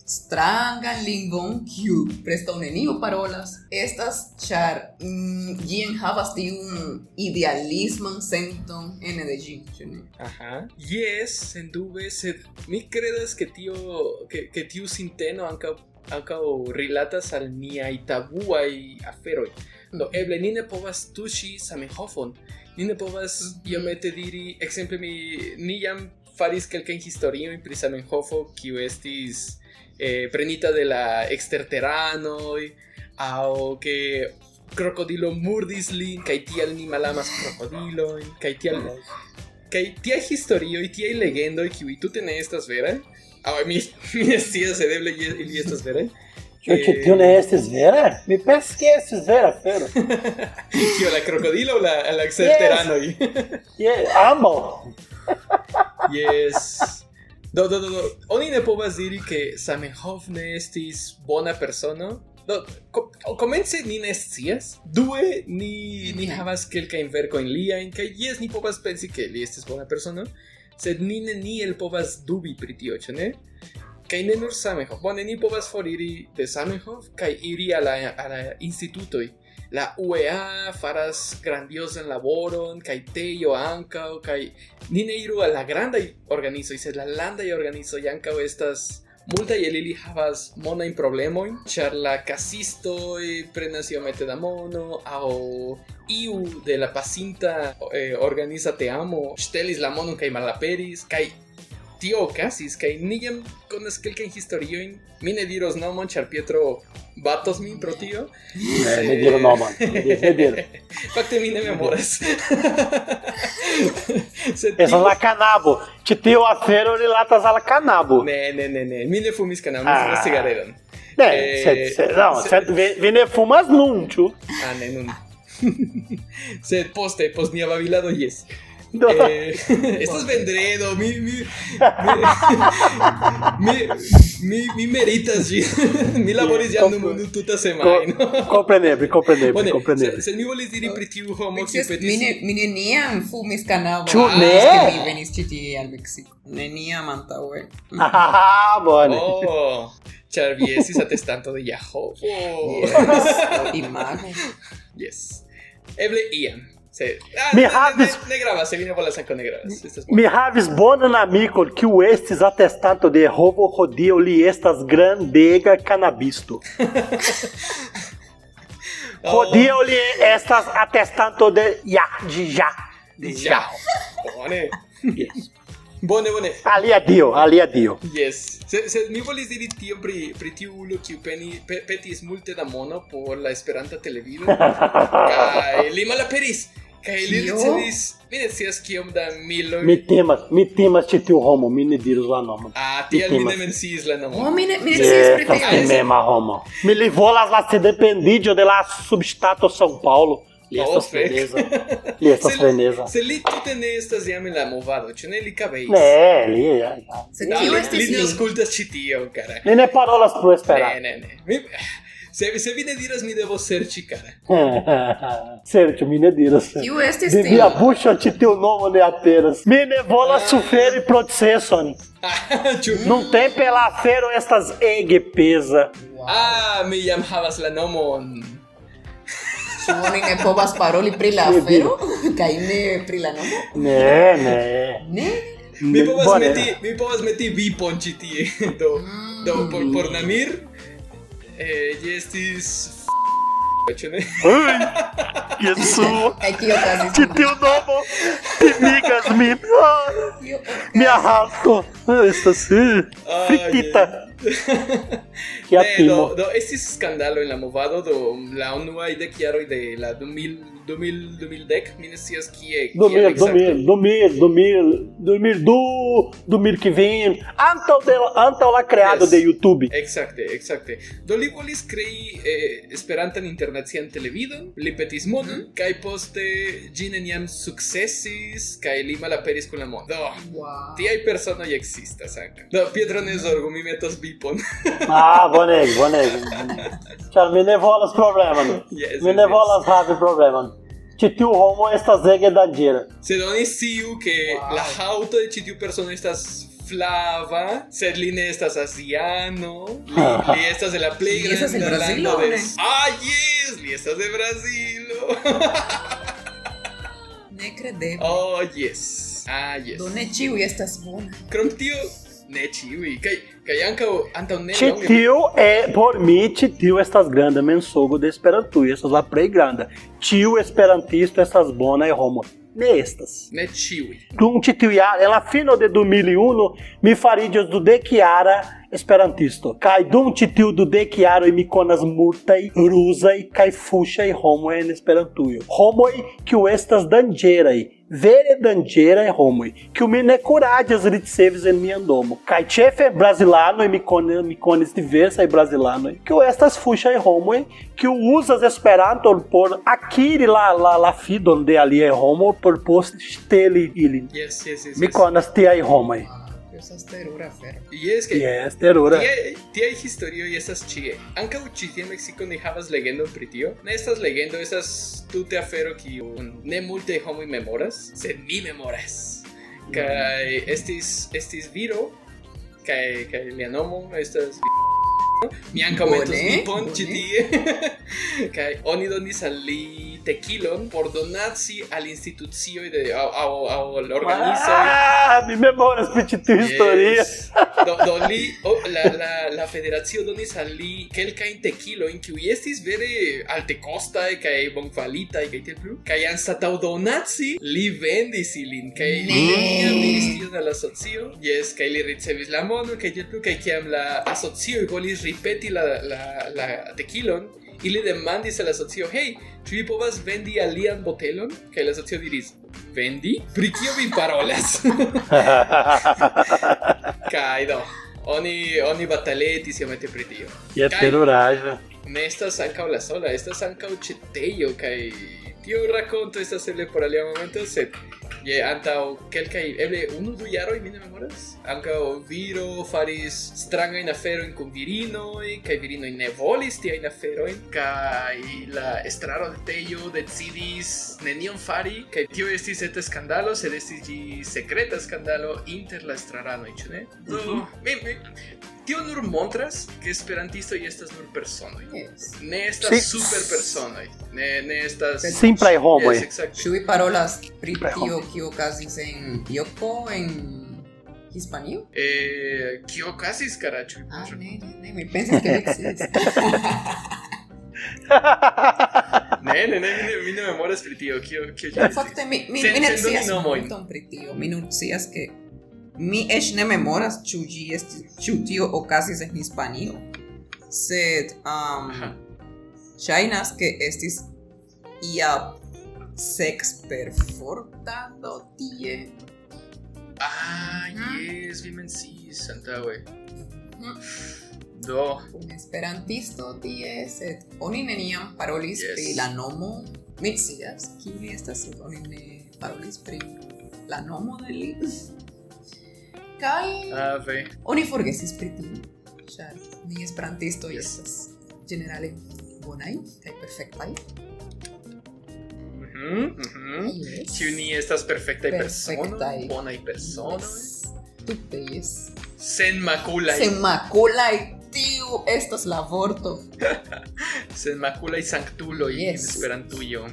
S4: strangan lingvon kiu preskaŭ neniu parolas estas ĉar mm, ĝi enhavas tiun idealisman senton ene de ĝi ĉu ne
S3: Ajá. Yes, sendube, sed mi credas que tio que, que tiu sinteno anca anca rilatas al nia itabua y aferoi. Do eble ni ne povas tuŝi samehofon. Ni ne povas iomete diri, ekzemple mi ni jam faris kelkajn historiojn pri Samenhofo kiu estis eh, prenita de la eksterteranoj aŭ ke krokodilo murdis lin kaj tial ni malamas krokodilojn kaj tial que tía historio y tía legendo y que tú tenés estas veras. A mi, mi tía se debe y estas Eh, veras.
S2: Tio que tio não é esses vera? Me parece que é esses vera, fera.
S3: Tío, la crocodilo o la, la exterterano. y
S2: Yeah, amo.
S3: Yes. Do, do, do, do. Oni ne povas diri que Samenhof ne estis bona persona. Do, co- comence ni ne scias. Due, ni, ni havas kelkajn verkojn liajn, kaj jes, ni povas pensi ke li estis bona persono, sed ni neniel povas dubi pri tio, ĉu ne? Kaj ne nur Samenhof. Bone, ni povas foriri de Samenhof kaj iri al la, a la institutoj. La UEA faras grandiosan laboron, kaj Tejo ankaŭ, kaj ni ne iru al la grandaj organizoj, sed la landaj organizoj ankaŭ estas multaj el ili havas monajn problemojn, ĉar la kasistoj prenas iomete eh, da mono aŭ iu de la pasinta eh, organiza teamo ŝtelis la monon kaj malaperis kaj tio okazis kaj ni jam konas kelkajn historiojn mi ne diros nomon ĉar Pietro batos min pro tio
S2: É, me dieron no, mano. Me dieron, me dieron.
S3: fakte mi ne memoras Sed
S2: Essa
S3: tio-
S2: lá "Ah, canabo. Tipo, Te teu afero de latas ala canabo.
S3: Ne, ne, ne, ne. Mi ne fumis kanam, mi
S2: Ah.
S3: fumas cigaredon.
S2: É,
S3: Eh,
S2: cê- cê- não,
S3: se-
S2: cê É, vê- vender fumas num, tio.
S3: Ah, en un. Se poste, pues, posniaba babilado y es.
S2: Não.
S3: Eh, estás vendredo, mi, mi, mi, mi, mi meritas, gi. mi laboris ya no
S2: compro-
S3: me tuta semana.
S2: Co- Compreendível, compreendível,
S3: Bueno,
S2: compreendível.
S3: se, se mi volis diri pri tiu homo
S4: Miks
S3: kiu
S4: es
S3: petis
S4: mine, mine niam fumis kanabo.
S2: Ĉu
S4: Ah,
S2: ne?
S4: Ke mi venis ĉi tie al Meksiko. Neniam antaŭe.
S2: Ah, bone.
S3: Oh, ĉar vi estis atestanto de Yahoo.
S4: Yes, imago.
S3: Yes. Eble iam. Se, ah,
S2: Mi
S3: ne, ne,
S2: havis-
S3: ne, ne gravas, se vine por la sanco ne gravas. Estas
S2: Mi havis bonan amikon que o estes atestado de robo rodio li estas grandega canabisto.
S3: Oh,
S2: Rodio li estas atestado de ja, de ja, de ja.
S3: Ya. Bone. Bone, bone.
S2: Ali é Dio, ali é Dio.
S3: Yes. Se, se mi volis diri tion pri, pri tiu ulo kiu peni, pe, petis multe da mono por la Esperanta televido kaj li malaperis kaj li
S4: Kio?
S3: ricevis mi ne scias kiom da miloj
S2: Me temas, me temas te teu homo, me ne diros la nomo.
S3: Ah,
S2: Mi
S3: tial mi ne menciis la
S4: Oh,
S3: nomon.
S4: mine, mine scias
S2: É,
S4: pri
S2: essas
S4: tio.
S2: que mesma homo. Me levou lá lá se dependido de lá substato São Paulo. Li
S3: Oh,
S2: essas
S3: fek.
S2: freneza. Li essas
S3: Se-
S2: freneza.
S3: Se li tute ne estas jam en la movado, ĉu ne li kabeis?
S2: É, li é.
S4: Se
S3: Ah,
S4: tio
S3: li,
S4: estis
S3: li ne
S4: li.
S3: aŭskultas ĉi tion, kara.
S2: Li ne parolas pro
S3: Ne,
S2: esperar.
S3: ne, ne. Mi, se, se vi ne diras, mi devos serĉi, kara.
S2: Sérgio, mi ne diras.
S4: Tio estis
S2: De
S4: tio.
S2: via bucha te teu nome ne apenas. Mi ne volas suferi processon.
S3: Ah, ĉu
S2: Não tem pela fero estas ege pesa.
S3: Ah, mi jam havas la nomon.
S4: Ĉu oni ne povas paroli pri la
S2: Dio,
S4: afero? Kaj ne pri la nomo?
S2: Né, né.
S4: Ne.
S3: Mi povas
S2: Bone.
S3: meti, mi povas meti vipon ĉi tie. Do, do por, por Namir, eh, ĝi estis... f- Ĉu ne?
S2: Ai, Jesus.
S4: Kaj tio okazis?
S2: Te teu nome. Pimigas mi. Ah,
S4: Tio okazis.
S2: Me arrasto. Ah, Esta sim.
S3: Ah,
S2: Fritita.
S3: jen.
S2: Que é
S3: Ne, Eh, do,
S2: atimo.
S3: do estis skandalo en la movado do la unuaj dek jaroj de la 2000 2000 2010 mi ne scias kie kiam
S2: Dormir,
S3: ekzakte.
S2: dormir, dormir, dormir, dormir do, dormir que vem. Antal, de, antal lá criado
S3: Yes.
S2: de YouTube.
S3: Exacte, exacte. Do li volis crei eh, Esperantan internacian televidon, li petis monon, kaj poste ĝi neniam sukcesis, kaj li malaperis kun la mono. Do,
S4: Wow.
S3: tiaj personoj ekzistas ankaŭ. Do, Pietro, ne zorgu, mi metos bipon.
S2: Ah, boneg, boneg. Ĉar mi ne volas problemon.
S3: Yes,
S2: mi
S3: yes,
S2: ne
S3: yes.
S2: volas havi problemon. Ĉi tiu homo estas ege danĝera.
S3: Sed oni sciu ke
S4: Wow.
S3: la haŭto de ĉi tiu persono estas flava, sed li ne estas asiano, li, li estas de la plej
S4: Li estas el
S3: granda lando
S4: Brazilo,
S3: de...
S4: ne?
S3: Ah, yes! Li estas de Brazilo!
S4: Ne kredeble.
S3: oh, yes! Ah, yes!
S4: Do ne ĉiuj estas bonaj.
S3: Krom tio ne ĉiuj kaj kaj ankaŭ antaŭ ne
S2: Ĉi
S3: longe-
S2: tiu é por mi ĉi tiu estas granda mensogo de Esperantujo, estas la plej granda. Tiu esperantisto estas bonaj homo. Ne estas.
S3: ne ĉiuj.
S2: Dum ĉi tiu jaro, en la fino de 2001 mi fariĝos dudekjara esperantisto. Kaj dum ĉi tiu dudekjaroj mi konas multaj rusaj kaj fuŝaj homoj en Esperantujo. Homoj kiu estas danĝeraj. Vere danĝeraj homoj, kiu mi ne kuraĝas ricevis en mia domo. Kaj ĉefe brazilanoj mi konas mi konas diversaj brazilanoj, kiu estas é fuŝaj homoj kiu uzas Esperanton por akiri la la la fidon de aliaj homoj é por poste ŝteli ilin.
S3: Yes, yes, yes.
S2: Mi
S3: yes.
S2: konas tiaj homoj.
S4: Tio estas terura afero.
S3: Yes, kaj
S2: Yes, terura.
S3: Tie, tie historio estas ĉie. Ankaŭ ĉi tie en Meksiko ni havas legendon pri tio. Ne estas legendo, estas tute afero kiun ne multaj homoj memoras, sed mi memoras.
S4: Mm.
S3: Kaj estis estis viro kaj kaj lia nomo estas Mi ankaŭ metos
S4: Bone,
S3: lipon ĉi
S4: bone.
S3: tie. Kaj oni donis al li tekilon por donaci al institucioj de aŭ aŭ aŭ organizoj
S2: Ah, mi memoras pri ĉi tiu historio.
S3: Yes. Do, do li, oh, la, la, la federacio donis al li kelkajn tekilojn kiuj estis vere altekostaj kaj bonkvalitaj kaj tiel plu kaj anstataŭ donaci li vendis ilin kaj li
S4: Ne.
S3: donis tion al la asocio jes kaj li ricevis la monon kaj tiel plu kaj kiam la asocio volis ripeti la, la, la tekilon ili demandis al la asocio hej ĉu vi povas vendi alian botelon kaj la asocio diris vendi pri kio vi parolas Kaido. Oni, oni bataleti siamente pretio.
S2: Ia
S3: Kai.
S2: ter oragem.
S3: Ne estas ankaŭ la sola, estas ankaŭ ĉetejo kaj tiu rakonto estas eble por alia momento, sed je antaŭ kelkaj eble unu du jaroj mi ne memoras. Ankaŭ viro faris strangajn aferojn kun virinoj kaj virinoj ne volis tiajn aferojn kaj la estraro de Tejo decidis nenion fari este kaj tio estis eta skandalo, sed estis ĝi sekreta skandalo inter la estraranoj, ĉu ne? Do mi, mi, Tio nur montras que esperantisto y estas nur personoj.
S4: Yes.
S3: Ne estas
S2: Sí.
S3: super personoj. Ne ne estas
S2: Sim pra Roma.
S3: Yes, exacte.
S4: Ĉu vi parolas pri
S2: Pre-
S4: tio kio okazis en Joko en Hispanio?
S3: Eh, kio okazis karaĉo?
S4: Ah, ne, ne, ne, mi pensas que no existe.
S3: Ne, ne, ne, mi ne, mi ne memoras pri tio. Kio kio ĝi estis?
S4: Fakte mi mi
S3: Sen-
S4: mi ne scias
S3: sendominomojn.
S4: multon pri tio. Mi nur scias ke mi eĉ ne memoras ĉu ĝi estis ĉu tio okazis en Hispanio. Sed um, este
S3: Aha.
S4: ŝajnas ke estis ia seks perfortado tie.
S3: Ah,
S4: Mm.
S3: jes, vi menciis antaŭe.
S4: Mm.
S3: Do,
S4: Un esperantisto tie, sed oni neniam parolis
S3: Yes.
S4: pri la nomo. Mi scias kiu li estas, sed oni ne parolis pri la nomo de li. Kaj
S3: ave.
S4: Oni forgesis pri tio, ĉar ni esperantistoj
S3: Yes.
S4: estas ĝenerale bonaj kaj perfektaj.
S3: Mhm, mhm.
S4: Yes.
S3: Ĉu ni estas perfektaj personoj,
S4: Perfektaj.
S3: bonaj personoj,
S4: Yes. Tute yes.
S3: sen makulaj,
S4: Sen makulaj tiu estas la vorto.
S3: sen makulaj sanktuloj en
S4: Yes.
S3: Esperantujo.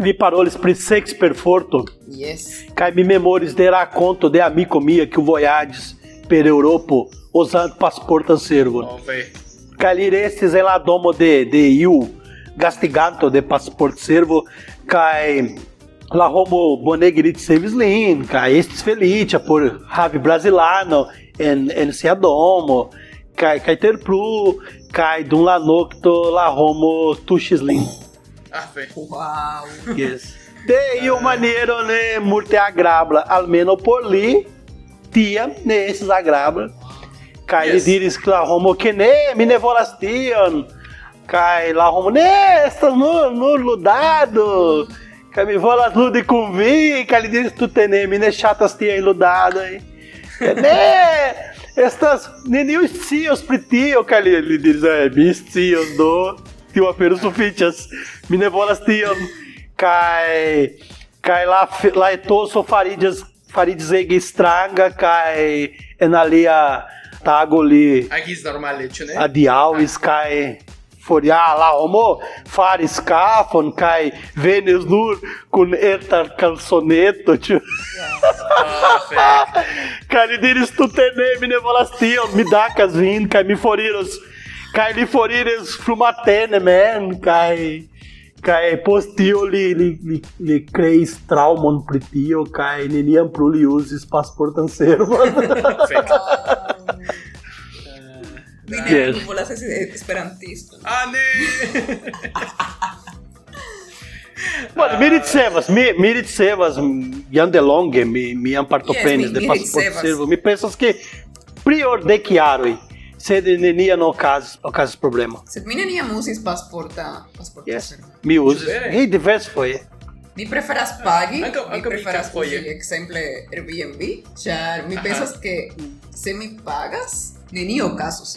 S2: Vi parolis pri sex perforto,
S4: Yes.
S2: cai me memores dera conto de amico mia que o voyades per Europo usando passaporte servo.
S3: Ove.
S2: Cai lire estes em la domo de de iu gastiganto de passaporte servo, cai la homo bonegrit sevis lin, cai estes felicia por rave brasilano en en sia domo. Cai cai ter plu, cai dum la nocto la homo tuxis lin.
S3: Ave.
S4: Wow.
S2: Yes. De iu um maneiro né? ne multe agrabla, almeno por li, tia ne esses agrabla. Kaj li
S3: Yes.
S2: diris que la homo que ne, mi ne volas tion. Kaj la homo ne, estas nur, nur ludado. Kaj mi volas ludi kun vi, kaj li diris tu te ne, mi ne ŝatas tiaj ludadoj. Ne, Né? estas né, neniu scios pri tio, kaj li, li diris, eh, mi scios do, tio apenas sufiĉas, mi ne volas tion. Kaj, kaj la, fi- la etoso fariĝas, fariĝis ege stranga, kaj en alia tago li
S3: Agis normale, ĉu
S2: Ah.
S3: ne?
S2: adiaŭis kaj foria la homo faris kafon kaj venis nur kun eta kalsoneto ĉu
S3: Ave.
S2: Kaj li diris tute ne, mi ne volas tion, mi dankas vin, kaj mi foriros, kaj li foriros frumatene men, kaj kaj post tio li li li, li kreis traumon pri tio kaj neniam plu li uzis pasporton servon.
S3: Fek.
S4: Mi ne
S2: Yes.
S4: volas esti esperantisto.
S3: Ah, ne!
S2: Mano, mi ricevas, mi, mi ricevas jandelonge, mi, mi ampartopenis
S4: Yes, mi-
S2: de
S4: mi
S2: pasporto
S4: ricevas.
S2: servo, mi pensas que priordeciaroi, sed nenia no caso, ocasis problema.
S4: Sed mi neniam uzis pasporta, pasporta
S2: Yes,
S4: servo.
S2: mi eh. uzis,
S3: Bele.
S2: e divers foi.
S4: Mi preferas pagi,
S3: Ankaŭ-
S4: mi
S3: ankaŭ mi
S4: preferas
S3: foje.
S4: uzi ekzemple Airbnb, ĉar mi
S3: Aha.
S4: pensas ke se mi pagas, nenio okazos.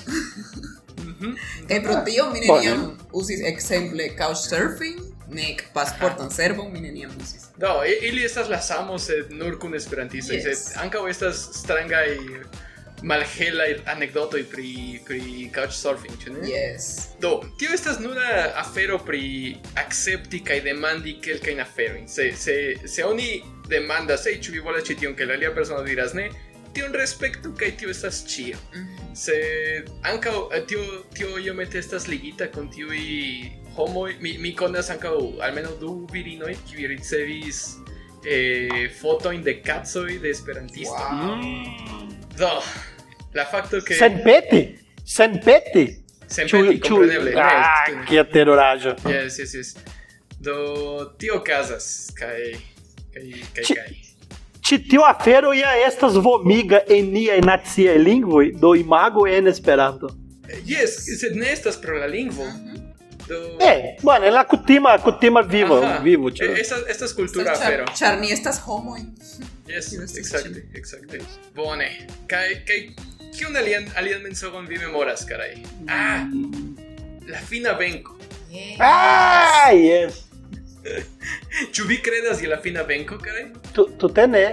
S4: Kaj pro tio mi neniam uzis ekzemple couchsurfing, nek pasportan servon mi neniam uzis.
S3: Do, i- ili E- estas la samo, sed nur kun esperantisto.
S4: Yes.
S3: Yes. Sed ankaŭ estas strangaj malhelaj anekdotoj pri, pri couchsurfing, ĉu ne?
S4: Yes.
S3: Do, tio estas nura afero pri akcepti kaj demandi kelkajn aferojn. Se, se, se oni demandas, hej, ĉu vi volas ĉi tion, kaj la alia persono diras ne, tion respektu kaj tio estas ĉio.
S4: Mhm.
S3: Se ankaŭ eh, tio tio iomete estas ligita kun tiuj homoj, mi, mi konas ankaŭ almenaŭ du virinoj kiuj ricevis eh, fotojn de kacoj de esperantisto.
S4: Wow.
S3: Do, la fakto ke
S2: Senpete? Senpete?
S3: senpeti, kompreneble, ne,
S2: Ah,
S3: tu-
S2: que aterurajo.
S3: Yes, yes, yes. Do tio casas, kai, kai, kai,
S2: Chi-
S3: kai.
S2: Titio afero ia estas vomiga enia nacia lingvoj do imago en Esperanto.
S3: Yes, sed ne estas pro la lingvo. Do...
S2: É, bueno, é la kutima, kutima Eh, vivo,
S3: Ajá.
S2: vivo, tio.
S3: Eh, Esta, esta es
S4: Sed
S3: cultura
S4: ĉar-
S3: afero.
S4: Ĉar ni estas homoj.
S3: Yes,
S4: Tio estas
S3: exacte, exacte. Bone. Kaj kaj kiun alian alian mensogon vi memoras, karaj? Ah, la fina venko.
S2: Ah, yes.
S3: Ĉu vi kredas je la fina venko, karaj?
S2: Tu, tu tene.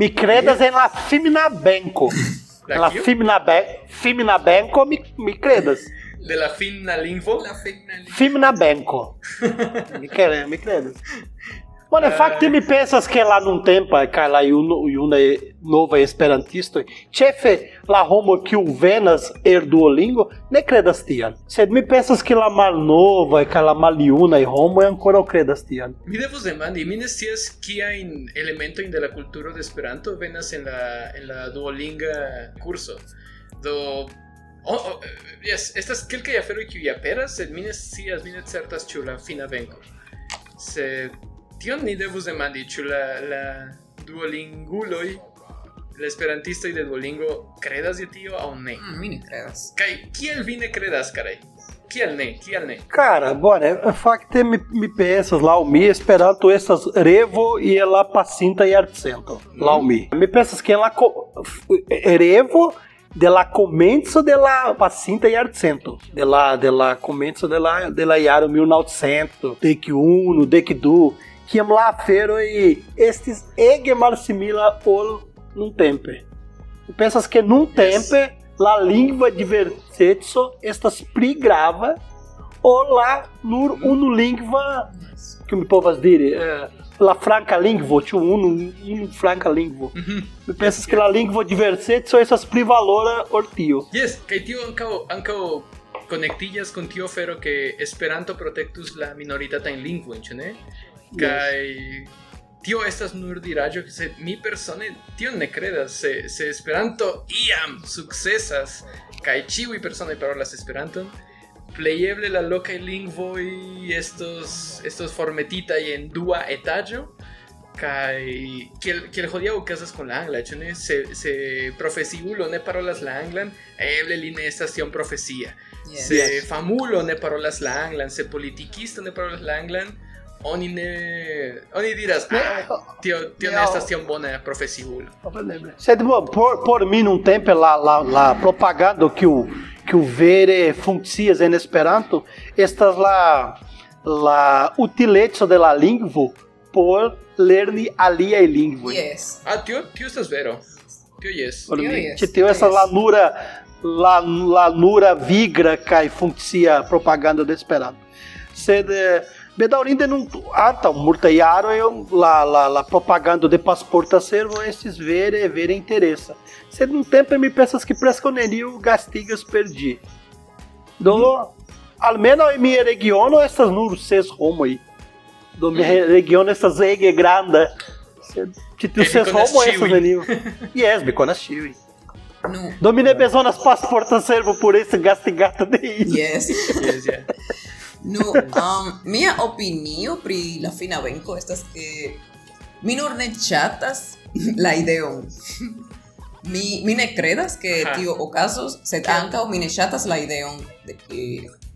S2: Mi credas en la femina benco.
S3: La
S2: En la
S3: kiu?
S2: femina, be, femina benco, mi, mi credas.
S3: De la fina lingvo?
S4: La fina
S2: Femina benco. Mi credas, mi credas. Bueno,
S3: Ai.
S2: fakte mi pensas que é lá um, num tempo, kaj la juna, juna nova esperantisto, é chefe la homo kiu venas el Duolingo, Né, ne credas tion. Sed mi pensas que la malnova kaj la maljuna homo ankoraŭ credas tion.
S3: Mi devos demandi, mi ne scias kiajn elementojn de la kulturo de Esperanto venas en la en la Duolinga kurso. Do Oh, oh, eh, yes, estas kelkaj aferoj kiuj aperas, sed mi ne scias, mi ne certas ĉu la fina venko. Sed tion ni devus demandi, ĉu la la duolinguloj, la esperantistoj de Duolingo credas je tio aŭ ne.
S4: Mm, mi ne kredas.
S3: Kaj kiel vi ne credas, karaj? Kiel ne? Kiel ne?
S2: Cara, bora, é, facte me, me pensas lá o mi esperando essas revo e é ela pacinta e arcento. Lá o mi. Me pensas que ela co- f- revo de la comenzo de la pacinta e arcento. De la de la comenzo de la de la iaro 1900, dec uno, dec du, que am lá fero e estes egemar simila ol num tempe. Pensas que é num tempo la língua diversetso estas pli grava Olá, nur unu lingva, que me povas diri, eh, la franca lingvo, tio unu, unu franca lingvo. Mi pensas que la lingvo diversete são essas pli valora or tio.
S3: Yes, kaj tio ankaŭ ankaŭ konektiĝas kun tio fero ke Esperanto protektus la minoritatajn lingvojn, ĉu ne? Kaj tio estas nur diraĵo, sed mi persone tion ne kredas. Se, se Esperanto iam sukcesas kaj ĉiuj personoj parolas Esperanton, plejeble la lokaj lingvoj estos estos formetitaj en dua etaĝo Kai kiel kiel hodiaŭ okazas kun la angla, ĉu ne? Se se profesiulo ne parolas la anglan, eble li ne estas tiom profesia.
S4: Yes.
S3: Se famulo ne parolas la anglan, se politikisto ne parolas la anglan, oni ne oni diras, ah, tio tio ne
S4: Miau.
S3: estas tiom bona profesiulo.
S2: Sed bom, por, por mim num tempo lá lá lá propagando que o que o vere funkcias en Esperanto estas la la utileco de la lingvo por lerni aliaj lingvoj.
S4: Yes.
S3: Ah, tio tio estas vero. Tio jes.
S2: Por
S4: Tio
S2: mim,
S4: jest,
S2: te
S4: tio
S2: tem essa
S4: jest.
S2: lanura, lan, lanura vigra cai funcia propaganda do esperado. Sed eh, bedaurinde não ata murtaiaro eu lá lá lá propaganda de passaporte servo esses vere vere interessa. Sed um tempo me pensas que presconeriu gastigas perdi. Do almeno em minha regiono essas nur ses homo aí. Do minha regiono essas ege grande. Sed titu
S3: Ele
S2: ses
S3: conas
S2: homo essas
S3: ciui.
S2: nenio. Yes, me conas ciui.
S4: No.
S2: Domine bezonas pasporta servo por esse gastigato de isso.
S4: Yes.
S3: Yes, yeah.
S4: No, um, mia opinio pri la fina venko estas ke mi nur ne ŝatas la ideon. Mi, mi ne credas que
S3: Aha.
S4: tio ocasos, sed ankaŭ mi ne ŝatas la ideon de que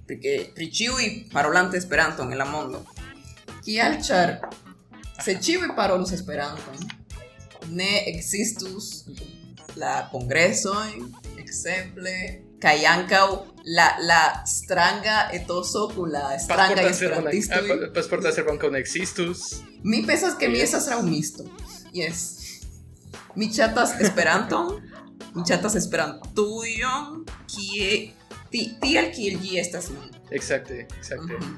S4: pri ke pri ĉiuj parolante Esperanton en la mondo. Kial ĉar se ĉiuj parolus Esperanton, ne existus la ¿eh? congresoj, ekzemple kaj ankaŭ la la stranga etoso kun la stranga ¿eh?
S3: Pasporta servo ne- ah,
S4: esperantistoj.
S3: pa- Pasporta servo ankaŭ ne ekzistus.
S4: Mi pensas que mi estas raŭmisto. Yes. Mi chatas Esperanton, mi chatas Esperantujon, kie ti, tiel kiel ĝi estas nun.
S3: Exacte, exacte.
S4: Mhm.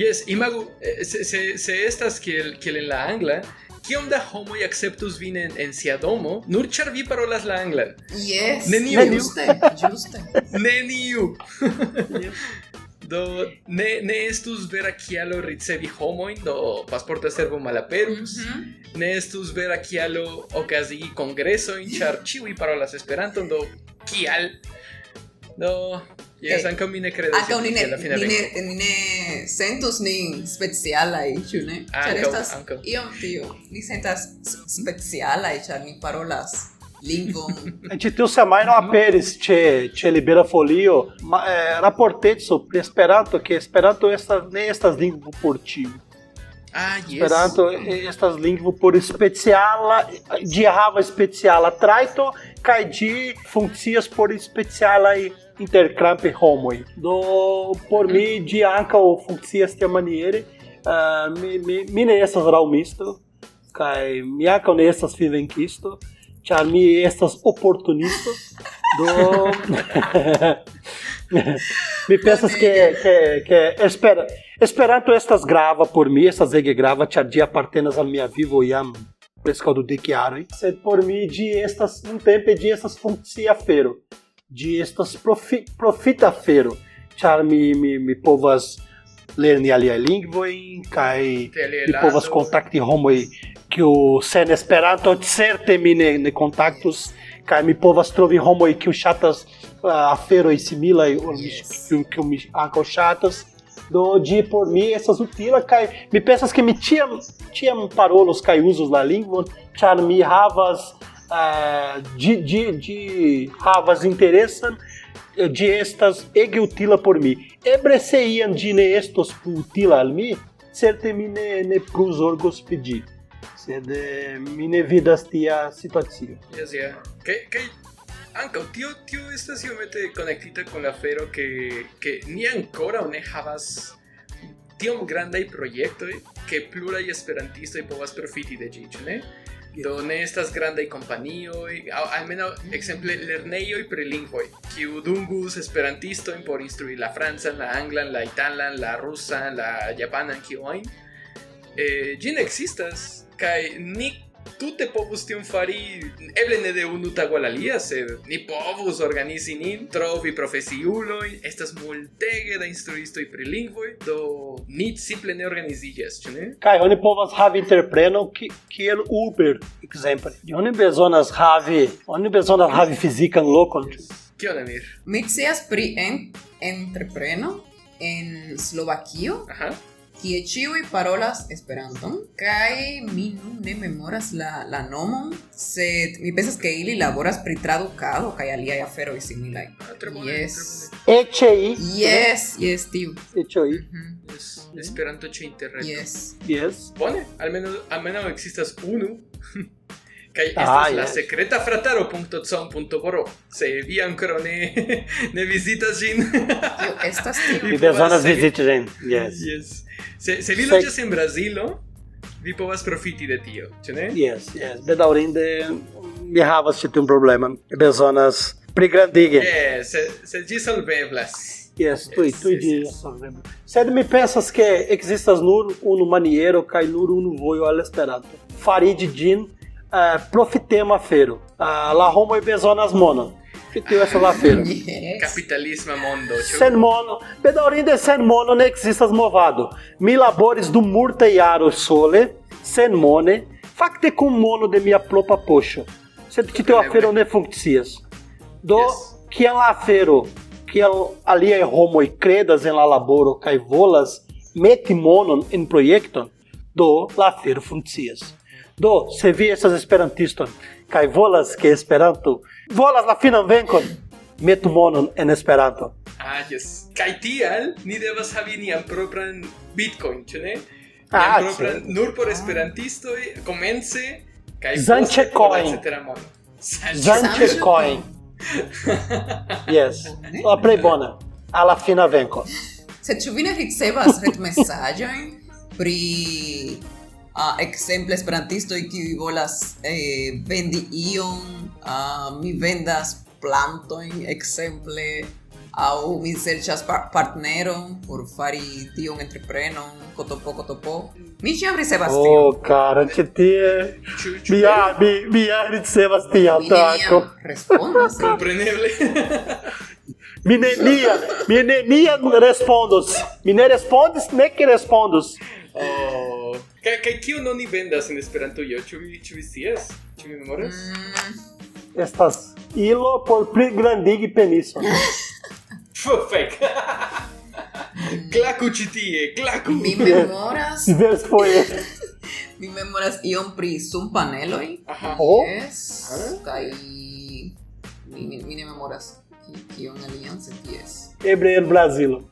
S3: Yes, imago, eh, se, se, se estas kiel, kiel en la angla, kiom da homoj acceptus vin en, en sia domo, nur ĉar vi parolas la anglan?
S4: Yes.
S3: Neniu.
S4: Juste, juste.
S3: Neniu! do ne, ne estus vera kialo ricevi homojn, do pasporta servo malaperus,
S4: Mhm.
S3: ne estus vera kialo okazigi kongresojn, ĉar ĉiuj parolas Esperanton, do kial? Do, Jes
S4: Ok.
S3: ankaŭ mi ne kredas
S4: Ankaŭ ni
S3: je-
S4: ne,
S3: je la fina
S4: ni ne,
S3: venko.
S4: ni ne sentus nin specialaj, ĉu ne? Ĉar
S3: Ankaŭ,
S4: estas
S3: ankaŭ.
S4: iom tio. Ni sentas s- specialaj, ĉar ni parolas lingvon.
S2: A gente tem o Samairo Aperis, che, che libera folio, ma, eh, raportezo pri Esperanto, que Esperanto estas, ne estas lingvo por tiu.
S3: Ah, jes.
S2: Esperanto estas lingvo por speciala, de hava speciala traito, kaj de funkcias por specialaj intercrampe homoj. Do por mi de ankaŭ funkcias tiamaniere, uh, mi, mi, mi ne estas raŭmisto, kaj mi ankaŭ ne estas fivenkisto, ĉar mi estas oportunisto. Do mi pensas que, que, que espera, Esperanto estas grava por mi, estas ege grava, ĉar ĝi apartenas al mia vivo jam preskaŭ dudek jaroj. Sed por mi ĝi estas um nuntempe ĝi estas funkcia afero. Ĝi estas profi, profita afero, ĉar mi, mi, mi povas lerni aliaj lingvojn kaj mi
S3: Teleelando.
S2: povas kontakti homoj kiu sen Esperanto certe mi ne, ne kontaktus kaj mi povas trovi homoj kiu ŝatas uh, aferoj similaj ol mi
S4: Yes.
S2: kiu, kiu mi ankaŭ ŝatas. Do ĝi por mi estas utila kaj mi pensas ke mi tiam tiam parolos kaj uzus la lingvon ĉar mi havas uh, ĝi ĝi ĝi havas interesan ĝi estas ege utila por mi. Eble se iam ĝi ne estos plu utila al mi, certe mi ne ne plu zorgos pri ĝi. Sed eh, mi ne vidas tia situacio.
S3: Jes, ja. Kaj kaj ankaŭ tio tio estas iomete konektita kun la afero ke ke ni ankoraŭ ne havas tiom grandaj projektoj ke pluraj esperantistoj povas profiti de ĝi, ĉu ne? Do ne estas grandaj kompanioj, aŭ almenaŭ ekzemple lernejoj pri lingvoj, kiu dungus esperantistojn eh. por instrui la francan, la anglan, la italan, la rusan, la japanan kiujn. Eh, ĝi ne ekzistas kaj ni tute povus tion fari eble ne de unu tago al alia, sed ni povus organizi nin, trovi profesiulojn, estas multege da instruistoj pri lingvoj, do ni simple ne organiziĝas, ĉu ne?
S2: Kaj oni povas havi entreprenon ki- kiel Uber, ekzemple. Oni bezonas havi, oni bezonas havi fizikan lokon.
S3: Kion Amir?
S4: Mi scias pri en, entrepreno en Slovakio,
S3: Aha.
S4: kie ĉiuj parolas Esperanton kaj mi nun ne memoras la, la nomon, sed mi pensas ke ili laboras pri tradukado kaj aliaj aferoj similaj.
S3: Ah, tre bone,
S4: Yes.
S2: Echei.
S4: Yes, yes, tio.
S2: Echei.
S4: Mhm.
S3: tre bone. Yes. Esperanto ĉe interreto.
S4: Yes.
S2: Yes.
S3: Bone, almenaŭ almenaŭ ekzistas unu. Kaj
S2: Ah,
S3: estas la
S2: yes.
S3: sekreta frataro.com.br. Se vi ankoraŭ ne ne vizitas ĝin,
S4: Tio, estas
S2: Vi
S4: tio.
S2: bezonas viziti ĝin. Yes.
S3: Yes. Se, se vi
S2: Sec-
S3: loĝas en Brazilo, vi povas profiti de tio, ĉu ne?
S2: Yes, yes. Bedaŭrinde mi havas ĉi tiun problemon. Mi bezonas pligrandige.
S3: Yes, se, se ĝi solveblas.
S2: Yes, tui,
S3: Yes,
S2: tui
S3: yes,
S2: di
S3: yes.
S2: solvebla. Sed mi pensas ke ekzistas nur unu maniero kaj nur unu vojo al Esperanto. Fari de ĝin uh, profitema afero. Uh, la homoj bezonas monon. Ĉi tiu estas la afero.
S4: Yes.
S3: Kapitalisma mondo, ĉu?
S2: Sen mono, bedaŭrinde sen mono ne ekzistas movado. Mi laboris dum multaj jaroj sole, sen mone, fakte kun mono de mia propra poŝo. Sed ĉi tiu afero ne funkcias. Do é um
S3: Yes.
S2: kiel la afero, kiel aliaj homoj kredas en la laboro kaj volas meti monon en projekton, do la afero funkcias. Do, se vi estas esperantiston kaj volas ke Esperanto volas la finan venkon, metu monon en Esperanto.
S3: Ah, yes. Kaj tial ni devas havi nian propran Bitcoin, ĉu ne? Nian
S2: Ah,
S3: propran
S2: certe.
S3: nur por esperantistoj komence kaj
S2: Zanche
S3: poste por la
S2: coin.
S3: cetera mono. Zanche-
S2: Zanche coin. yes. La plej bona. Alla fina venko.
S4: Sed ĉu vi ne ricevas retmesaĝojn pri uh, ekzemple esperantistoj kiuj volas eh, vendi ion, uh, mi vendas plantojn ekzemple aŭ mi serĉas par partneron por fari tion entreprenon, kotopo kotopo. Mi ĉiam ricevas
S2: Oh,
S4: tion.
S2: cara, que te...
S3: Ĉu ĉu
S2: Mi ha, mi, mi ha ricevas tian
S4: Mi neniam
S2: danko.
S4: respondas.
S3: kompreneble.
S2: Mi neniam, mi neniam respondos. Mi ne respondes, ne que respondos.
S3: oh. Kaj kaj kion oni vendas en Esperantujo? Ĉu vi ĉu vi scias? Ĉu vi memoras?
S4: Mm,
S2: Estas ilo por pli grandigi peniso.
S3: Fek. Clacu chitie, clacu.
S4: Mi memoras,
S2: Despois.
S4: mi memoras ion pri paneloj
S3: Ajá.
S2: Oh.
S4: Jes, kaj mi, mi, mi ne memoras ki- kion aliance ties.
S2: Ebreiro Brasilo.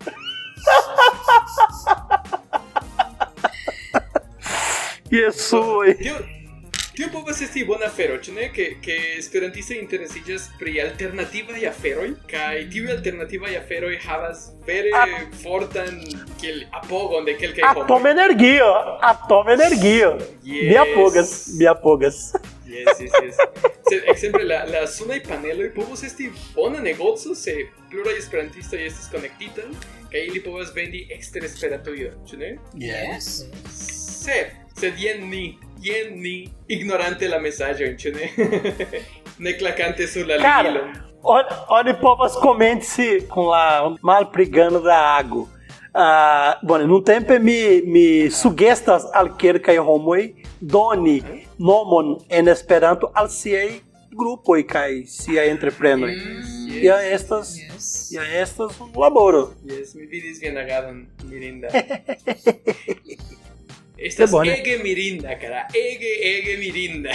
S2: Jesoj.
S3: Tio, tio povas esti bona afero, ĉu ne? Ke ke esperantistoj interesiĝas pri alternativaj aferoj kaj tiuj alternativaj aferoj havas vere
S4: Ah.
S3: fortan kiel apogon de kelkaj
S2: Atoma energio. Atoma energio.
S3: Yes.
S2: Biapogas. Biapogas.
S3: Yes, yes, yes. Se, ekzemple la la sunaj paneloj povus esti bona negoco se pluraj esperantistoj estas konektitaj kaj ili povas vendi ekster Esperantujo, ĉu ne?
S4: Yes.
S3: Sed, sed jen ni, jen ni, ignorante la mesaĝojn, ĉu ne? ne klakante sur la ligilon.
S2: Cara, olha, olha povas comente-se com lá, um mal brigando da água. Ah, bom, num tempo me, me sugestas al kelkaj homoj doni nomon en Esperanto al siaj grupoj kaj siaj entreprenoj.
S4: Mm,
S2: Ja estas
S4: Yes.
S2: ja estas un laboro.
S3: Yes, mi vidis vian agadon, mirinda.
S2: Qué
S3: Estas
S2: bueno.
S3: ege mirinda, cara. Ege, ege mirinda.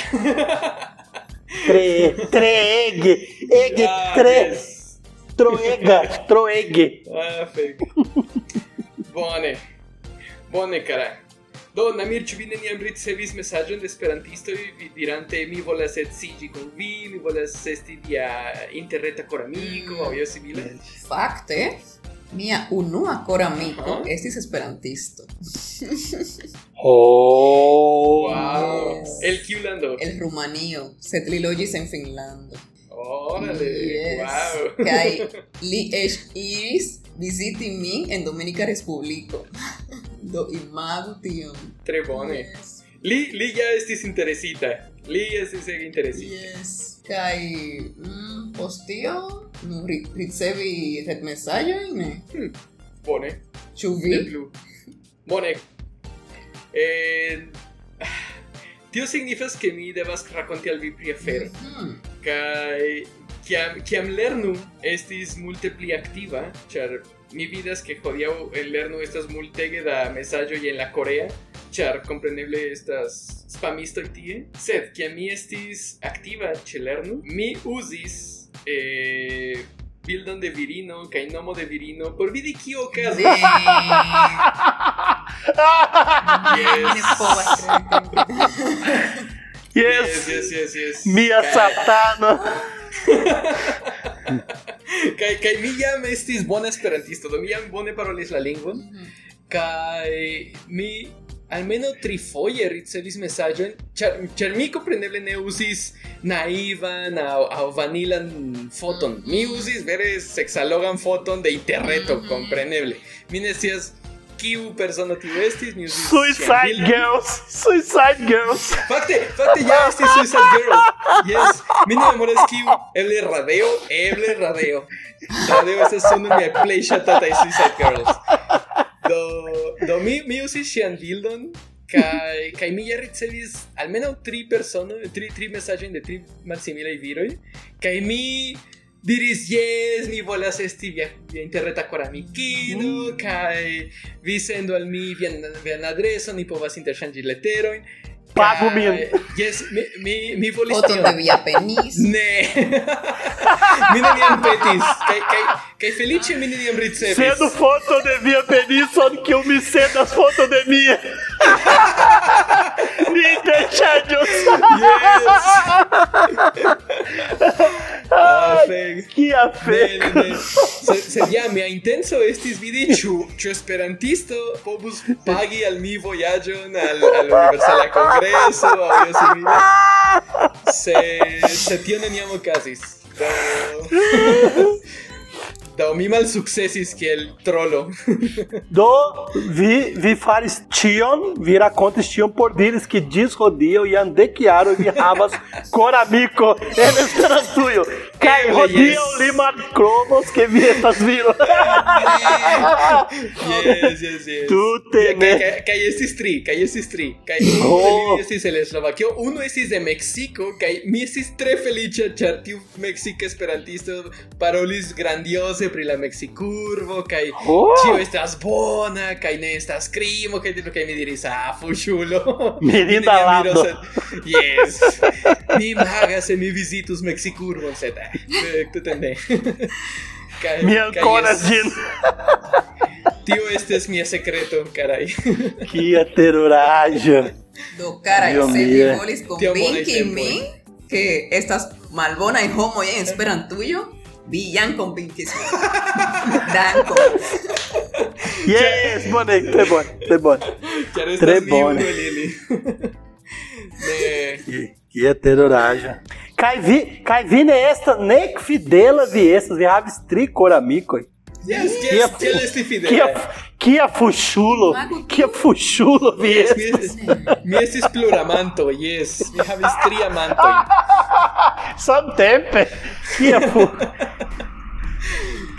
S2: Tre, treege, ege,
S3: Ah,
S2: tre,
S3: yes.
S2: troega, troege.
S3: Ah, fek. Bone. Bone, cara. Do, Namir, ĉu vi neniam ricevis mesaĝon de esperantistoj vi dirante mi volas edziĝi kun vi, mi volas esti via interreta koramiko aŭ io simila?
S4: Fakte, mia unua koramiko
S3: Aha.
S4: estis esperantisto.
S2: Oh.
S3: Wow.
S4: Yes.
S3: El kiu lando.
S4: El rumanio, sed li loĝis en Finnlando.
S3: Órale. Wow.
S4: Kaj li eĉ iris viziti min en Dominika Respubliko. Do imagu tion.
S3: Tre bone.
S4: Yes.
S3: Li, li ya estis interesita. Li estis ege interesita.
S4: Yes. Kaj mm, post tio nu, ri, ricevi retmesaĝojn?
S3: Bone.
S4: Ĉu vi?
S3: De blue. Bone. Eh, tio signifas ke mi devas rakonti al vi pri afero.
S4: Mhm.
S3: Kaj kiam, kiam lernu este estis multe pli aktiva, ĉar mi vidas ke hodiaŭ el lernu estas multege da mesaĝoj en la korea, ĉar kompreneble estas spamistoj tie, sed kiam mi estis aktiva ĉe lernu, mi uzis eh, bildon de virino kaj nomo de virino por vidi kio okazas.
S4: De... Ne
S3: Yes.
S4: povas kredi.
S3: Yes,
S2: Yes,
S3: yes, yes, yes.
S2: mia
S3: Kaj-
S2: satano.
S3: Kaj kaj mi jam estis bona esperantisto, do mi jam bone parolis la lingvon. Kai mi almeno trifoje ricevis mesaĝojn, ĉar ĉar mi kompreneble ne uzis naivan aŭ aŭ vanilan foton. Mi uzis vere seksalogan foton de interreto, kompreneble. Mi ne scias kiu persono tiu estis, mi uzis
S2: Suicide
S3: Shangri-La.
S2: Girls. Suicide Girls.
S3: Fakte, fakte ja estis Suicide Girl. Yes, mi ne memoras kiu, eble radio, eble radio. Radio estas unu el miaj plej ŝatataj Suicide Girls. Do, do mi, mi uzis ŝian bildon kaj kaj mi ja ricevis almenaŭ tri personoj, tri tri mesaĝojn de tri malsimilaj viroj kaj mi diris yes, mi volas esti via, via interreta koramikino kaj vi sendu al mi vian, vian adreson, ni povas interŝanĝi leterojn
S2: Pagu
S3: Kaj-
S2: min.
S3: Yes, mi, mi, mi volis
S4: Foton
S3: tion.
S4: de via penis.
S3: Ne. mi neniam petis. Kaj, kaj, kaj feliĉe mi neniam ricevis.
S2: Sendo foto de minha penison que eu me cedo as fotos de minha. Me deixa de usar.
S3: Yes. Ah, fek.
S2: Que a
S3: Ne,
S2: fé.
S3: ne, ne. Se- Sed ja mia intenco estis vidi ĉu ĉu esperantisto povus pagi al mi vojaĝon al al Universala Kongreso aŭ io simila. Se se tio neniam okazis. Do- Do mi malsukcesis kiel trolo.
S2: Do vi, vi fares tion, vira contas tion por diles que desrodiam e andequiaram de rabas coramico en esperantuio. Cai
S3: Yes.
S2: rodiam lima cromos que vietas viram.
S3: yes, yes, yes.
S2: Tute,
S3: Kaj-
S2: ne.
S3: kaj- Kaj estis tri, kaj estis tri. Kaj
S2: Oh.
S3: unu estis el Eslovakio, unu estis de Meksiko, kaj mi estis tre feliĉa ĉar tiu meksika esperantisto parolis grandioze tio pri la mexicurbo kaj
S2: Oh!
S3: tio estas bona kaj ne estas krimo kaj tio kaj mi diris ah fuŝulo
S2: Mi
S3: Mi ne
S2: ribalando.
S3: amiros en- yes mi magas se mi vizitus mexicurbo sed eh, tute ne kaj
S2: Mi
S3: kaj
S2: ankoras
S3: jes.
S2: ĝin.
S3: tio estes mia sekreto karaj
S2: Kia teruraĵo.
S4: Do cara,
S2: Dios
S4: se
S2: mío.
S4: mi bolis con
S3: Tío Bolis,
S4: Pinky y
S3: tío
S4: Min,
S3: Bolis.
S4: que estas malbona y homo y esperan tuyo, villan con Pinky Smith. Dan con
S2: Yes, bone, tre bone, tre bone.
S3: ĉar
S2: Tre
S3: estas
S2: bone.
S3: libro lili ne
S2: Ki- Kia teruraĵo. Kaj vi, kaj vi ne estas nek fidela vi estas, vi havis tri koramikoj.
S3: Yes,
S2: Kia
S3: yes,
S2: fu-
S3: tiel esti
S2: Kia
S3: fidela.
S2: kia fuŝulo,
S4: Mago,
S2: kia fuŝulo vi
S3: Yes, mi
S2: estas.
S3: estis, mi estis pluramanto, yes. Mi havis tri amantoj.
S2: um Samtempe. Kia fu.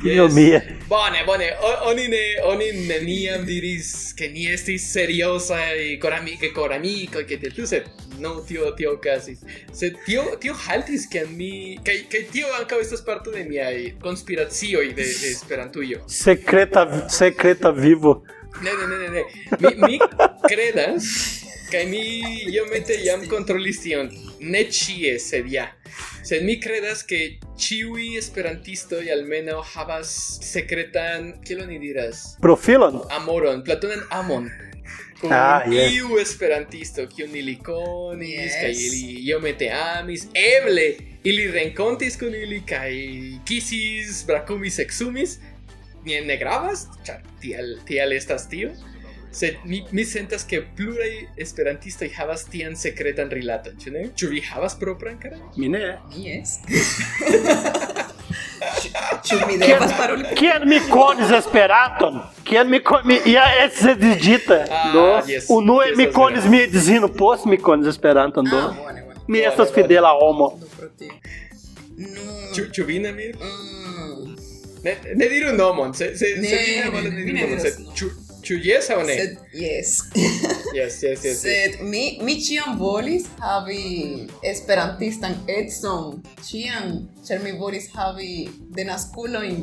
S2: Dio
S3: Yes.
S2: mia.
S3: Bone, bone. O- Oni ne, oni neniam diris ke ni estis seriosa kaj koramike koramiko ke te tuse. No, tio, tio okazis. Se tio, tio haltis ke mi kaj kaj tio ankaŭ estas parto de miaj konspiracioj de, de Esperantujo.
S2: Secreta, secreta vivo.
S3: Ne, ne, ne, ne, ne. Mi, mi credas que mi yo mete jam controlis tion. Ne chie sed ja. Sed mi credas que chiwi esperantisto y almeno havas secretan, kiel oni diras?
S2: Profilon?
S3: Amoron, platonan amon. Kun
S2: Ah, yes.
S3: iu esperantisto, kiun ili konis,
S4: Yes.
S3: kaj ili iomete amis, eble ili renkontis kun ili kaj kisis, brakumis, eksumis, ne, ne gravas, ĉar tiel, tiel estas tio. Sed mi, mi sentas ke pluraj esperantistoj havas tian sekretan rilaton, ĉu ne? Ĉu vi havas propran karan?
S2: Mi ne.
S4: Mies. Chumi devas paroli.
S2: Kiel mi konis Esperanton? Kiel mi konis... Mi, ja, é esse digita.
S3: Ah,
S2: do.
S3: yes.
S2: Unue
S3: Yes,
S2: mi
S3: yes,
S2: konis mi edzino, post mi konis Esperanton, do.
S4: Ah, bueno, bueno.
S2: mi
S3: vale,
S2: estas
S3: vale.
S2: fidela homo.
S4: No, pro ti. No.
S3: Ĉu ĉu vi ne mir?
S4: Mm.
S3: Ne, ne diru nomon, se, se,
S4: Ne,
S3: se vi ne
S4: ne,
S3: volas
S4: ne,
S3: ne
S4: mi ne
S3: diru nomon,
S4: diras
S3: sed
S4: nomon.
S3: ĉu ĉu jes aŭ ne?
S4: Sed, yes.
S3: Yes, yes, yes. yes.
S4: Sed mi mi ĉiam volis havi esperantistan edzon. Ĉiam, ĉar mi volis havi denaskulojn.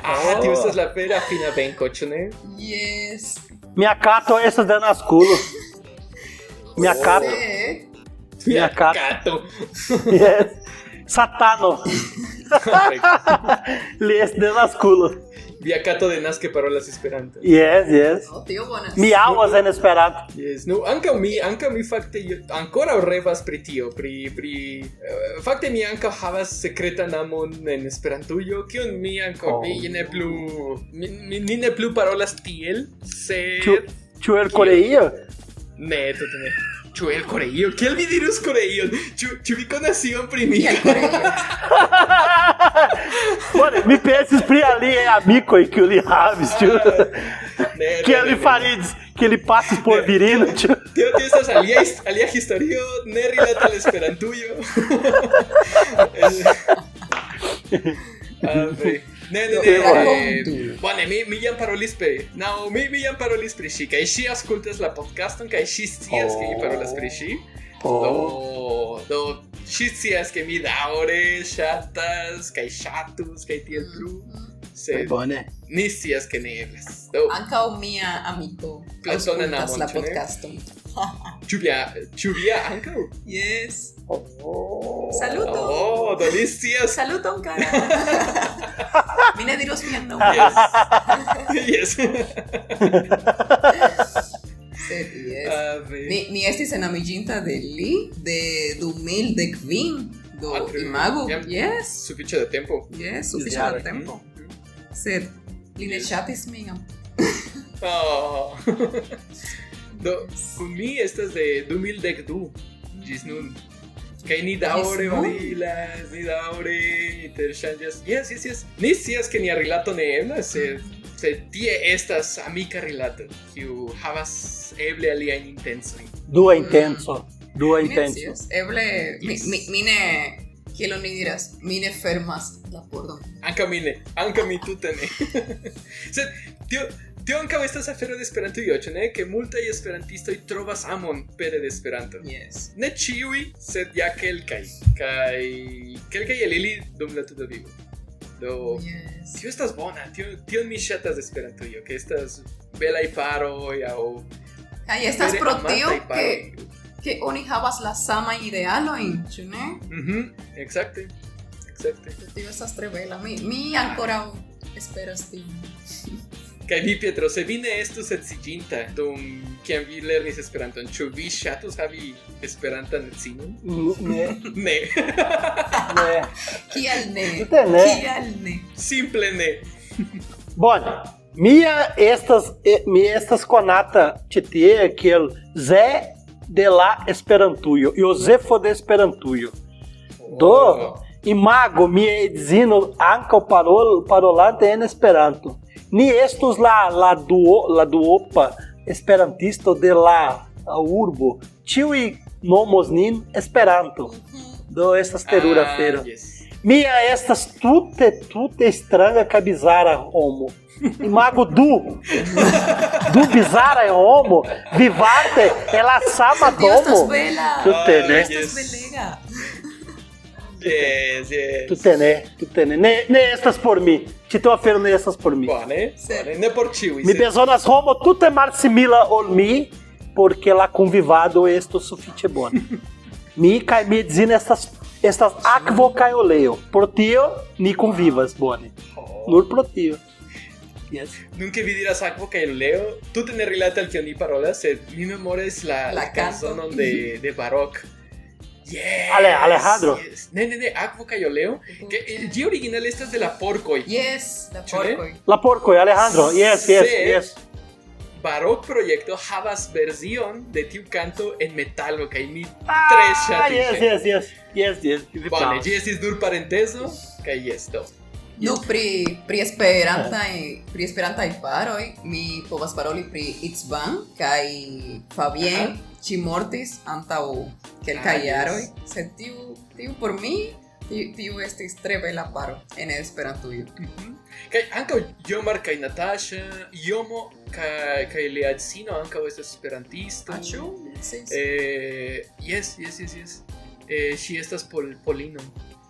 S3: Ah,
S2: Oh.
S3: tio estas Ah, la vera fina venko, ĉu ne?
S4: Yes.
S2: Minha cato essas danasculo. Minha cato.
S3: Oh.
S4: Sed,
S2: Mia kato.
S3: kato.
S2: Yes. Satano. Li estas danasculo.
S3: Via kato denas que parolas Esperanto.
S2: Yes, yes.
S4: no, tio bonas.
S2: Mi almas en Esperanto.
S3: Yes, no, ankaŭ mi, ankaŭ mi fakte io- ankoraŭ revas pri tio, pri pri eh, fakte mi ankaŭ havas sekretan amon en Esperantujo, kiun mi ankaŭ
S2: Oh.
S3: mi ne plu mi, mi, ni ne plu parolas tiel, sed
S2: Ĉu ĉu el Koreio?
S3: ne tute ne. Ĉu el Koreio? Kiel vi dirus Koreion? Ĉu ĉu vi konas ion pri mi?
S4: Kiel Koreio?
S2: Bone, mi pensis pri aliaj amikoj kiu li havis, ĉu?
S3: Ne,
S2: Ke
S3: ne, ne,
S2: li
S3: ne.
S2: faridis, ke li pasis por virino, ĉu?
S3: Tio, tio estas alia, his- alia historio, ne rilata al Esperantujo. Ah, fe. ne, ne, ne. eh, Bone, mi, mi jam parolis pri... Naŭ, mi, mi jam parolis pri ŝi, kaj ŝi aŭskultas la podcaston, kaj ŝi scias, ke mi parolas pri ŝi.
S2: Oh.
S3: Do, do, ŝi scias, ke mi daŭre ŝatas, kaj ŝatus, kaj tiel plu. Sed
S2: Bone.
S3: ni scias, ke ne eblas. Do,
S4: Ankaŭ mia amiko
S3: Platonan
S4: aŭskultas
S3: amon,
S4: la
S3: ĉu ne?
S4: podcaston.
S3: ĉu via, ĉu via ankaŭ?
S4: Yes.
S2: Oh.
S4: Saluton.
S3: Oh, do li scias
S4: Saluton, cara. mi ne diros mian
S2: Ah.
S4: nomon.
S3: Yes. yes.
S4: Sed, yes.
S3: A ver.
S4: Mi, mi estis enamiĝinta este de li de du mil dek kvin do
S3: Ah, tre-
S4: imago.
S3: jam-
S4: Yes,
S3: Su ficha de tiempo.
S4: yes, sufiĉa
S2: Jare.
S4: da tempo. Sed li ne
S3: Yes.
S4: ŝatis min.
S3: Oh. Do, kun mi estas de 2012 gis nun. Kaj ni daŭre
S4: Ĝis nun?
S3: balilas, ni daŭre interŝanĝas. Yes, yes, yes. Ni scias ke nia rilato ne eblas, sed sed tie estas amika rilato, kiu havas eble aliajn intencojn.
S2: Dua intenso. Dua
S4: Mi ne
S2: intenso.
S4: scias. Eble mi,
S3: Yes.
S4: mi, mi ne kiel oni diras, mi ne fermas la pordon.
S3: Anca mi ne, anca mi tute ne. Sed, tio, tio anca estas afero de Esperanto y ocho, ne? Que multaj esperantistoj trovas amon pere de Esperanto.
S4: Yes.
S3: Ne ĉiuj, sed ja kelkaj. Kaj kelkaj el ili dum la tuta vivo. do
S1: Yes.
S3: Tio estas bona, tio, tio mi ŝatas Esperantujo, ke estas belaj paroj aŭ
S4: Kaj estas
S3: vere
S4: pro
S3: amantaj
S4: tio
S3: paroj.
S4: ke ke oni havas la samajn idealojn, ĉu ne?
S3: Mhm, ekzakte. Ekzakte.
S4: Tio estas tre bela. Mi mi
S3: Ah.
S4: ankoraŭ esperas tion.
S3: Kaj vi Pietro, se vi ne estus edziĝinta dum kiam vi lernis Esperanton, ĉu vi ŝatus havi Esperantan edzinon?
S2: Né?
S3: Ne,
S2: Né? Então,
S4: Kial ne?
S2: Tute ne.
S4: Kial ne?
S3: simple ne.
S2: Bom, minha estas eh, mi estas conata tite aquele Zé de la Esperantujo, Josefo de Esperantujo. Do
S3: Oh.
S2: imago mi edzino ankaŭ parol parolante en Esperanto. Ni estus la la duo la duopa esperantisto de la urbo. Ĉiuj nomos nin Esperanto. Do estas terura
S3: Ah,
S2: fero.
S3: yes.
S2: Mia estas tute, tute estranha que a bizarra homo. Imago du. du bizarra é homo. Vivarte, ela sama
S4: Tio estas
S2: domo.
S4: bela.
S2: Tu tenés.
S3: yes.
S4: Estas belega.
S3: Yes, yes.
S2: Tu tené, tu né? tené. Ne, ne estas por mim. Te teu afero ne estas por mim.
S3: Bone,
S4: Se-
S3: bone. Ne por ĉiuj.
S2: Mi
S3: sed-
S2: bezonas homo tute malsimila ol mi, porque la convivado esto sufiĉe bona. mi kaj mi edzino estas estas akvo kaj oleo. Pro tio ni convivas bone.
S3: Oh.
S2: Nur pro tio. Yes.
S3: Nunca vi diras algo que leo. Tú tenés relata al que ni parola, sed eh, mi memoria es la,
S4: La canto.
S3: canción de, de Baroque. Yes,
S2: Ale- Alejandro.
S3: yes. Ne, ne, ne, algo que yo leo. Que el G original esta es de la Porcoy.
S4: Yes, la
S3: Ĉu ne?
S4: porkoj.
S2: La porco, eh, Alejandro. Yes, yes,
S3: Sí.
S2: yes.
S3: Baroque proyecto havas versión de tiu canto en metalo que mi tres
S2: Ah, yes,
S3: chatis.
S2: yes, yes. Yes, yes. Vi
S3: Vale,
S2: pravas.
S3: G es dur parenteso, que yes, do.
S4: Nu pri pri esperantaj pri esperantaj paroj mi povas paroli pri Itzvan kaj Fabien ŝi mortis antaŭ kelkaj
S3: Ah, yes.
S4: jaroj sed tiu tiu por mi tiu, tiu estis tre bela paro en Esperantujo
S3: Mhm. Kaj ankaŭ Jomar kaj Natasha, Jomo kaj kaj lia edzino ankaŭ estas esperantisto.
S4: Aĉu sí, sí.
S3: Eh, yes, yes, yes, yes. Eh, si estas pol, polino,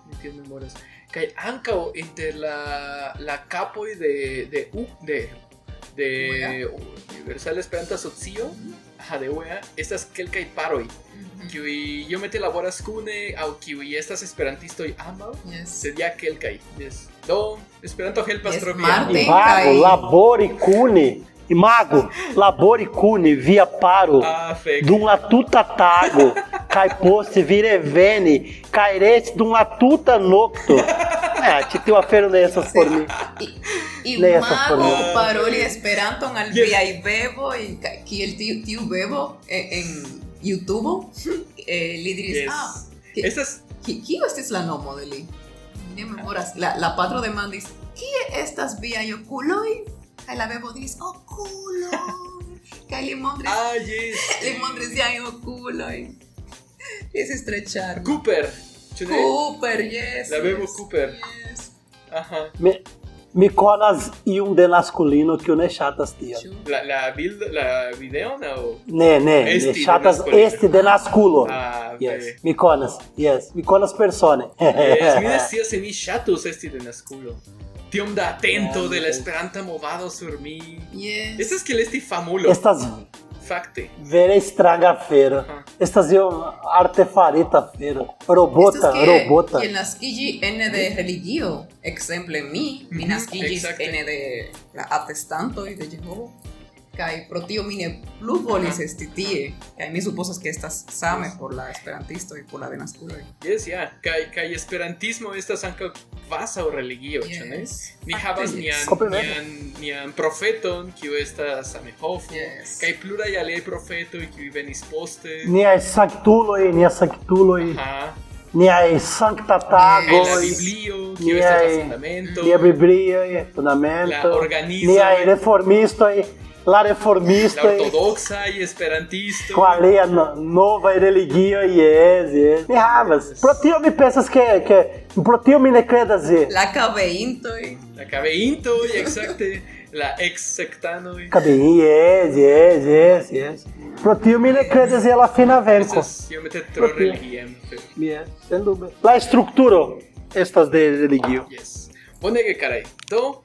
S3: mi tiel memoras. Kaj ankaŭ inter la la kapoj de de U, de de
S4: E
S3: Universal Esperanto Asocio, aha, de UEA, estas kelkaj paroj,
S4: Mhm.
S3: kiuj iomete laboras kune aŭ kiuj estas esperantistoj ambaŭ,
S4: Yes.
S3: sed ja kelkaj. Yes. Do Esperanto helpas
S4: Yes,
S3: trovi
S4: Marte.
S3: ambaŭ.
S2: Imago,
S4: Tem,
S2: labori cune. Imago, labori cune via paro.
S3: Ah, fek.
S2: Dum latuta um tago. Cai poste vire vene. Cairete dum latuta um nocto. É, te teu afero nessas por mim.
S4: I- I
S2: Lea estas
S4: mago
S2: por
S3: mi.
S4: paroli Esperanton al
S3: Yes.
S4: viaj bebo y kiel tiu tiu bebo en, en YouTube eh, li diris
S3: Yes.
S4: ah ki-
S3: Estas
S4: Ki- Kio estis la nomo de li? Mi ne memoras. La, la patro demandis, kie estas viaj okuloj? Kaj la bebo diris, okuloj! Kaj li montris,
S3: Ah, yes.
S4: li montris siajn okuloj. Estis tre ĉarma.
S3: Cooper. Ĉu ne?
S4: Cooper, yes!
S3: La bebo
S4: yes,
S3: Cooper.
S4: Yes.
S3: Ajá.
S2: Me, me colas e um de masculino que eu não é chatas, tia.
S4: Ĉu?
S3: La, la build, la video, no.
S2: Né, né.
S3: Este
S2: né,
S3: de
S2: Chatas
S3: masculino.
S2: este de nasculo.
S3: Ah,
S2: Yes.
S3: yes.
S2: Me conas. Yes. Me conas persone.
S3: yes. Mi decias en mi chatus esti de nasculo. Tiom da atento
S2: Ah,
S3: de la
S2: yes.
S3: esperanta movado sur mi.
S4: Yes.
S3: Estas que esti famulo.
S2: Estas
S3: Facte.
S2: Vera estraga feira. Estas eu artefarita feira. Robota,
S4: Estas kie-
S2: robota.
S4: kiel naskiĝi ene de religio. Ekzemple mi, mi
S3: Mhm,
S4: naskiĝis
S3: exacte.
S4: ene de la atestantoj de Jehovo. Kaj pro tio mi ne plu volis esti este tie. Kaj mi supozas ke estas same por la esperantistoj, por la denaskuloj.
S3: Yes, ja. Kaj kaj esperantismo estas ankaŭ kvazaŭ religio, ĉu ne?
S4: Yes.
S3: Ni havas
S4: Fakte,
S3: nian
S4: yes.
S2: Kompreneble.
S3: nian nian profeton, kiu estas Amehofo.
S4: Yes.
S3: Kaj pluraj aliaj profetoj kiuj venis poste.
S2: Nia sanctuloi, nia sanctuloi,
S3: Aha.
S2: nia
S3: Kaj la
S2: sanctatagoi,
S3: Biblio, kiu estas la
S2: niai,
S3: fundamento.
S2: nia Biblioi, fundamento,
S3: La organizo.
S2: niai reformistoi, la
S3: La
S2: reformistoi,
S3: é ortodoxa y esperantista.
S2: qualia no, nova religio, yes, yes. Mi havas. Pro tio mi pensas que, que, pro tio mi ne credas je.
S4: La kabeintoj.
S3: La cabeinto y exacte. La ex sectano. y-
S2: Cabinho, yes, yes, yes, yes. Pro tio mi ne credas je la fina verko.
S3: Entonces, yo me te tro
S2: Ok.
S3: religiem. pero-
S2: Bien, sem dúvida. La estructuro estas de religio.
S3: Yes. Bonege karai. To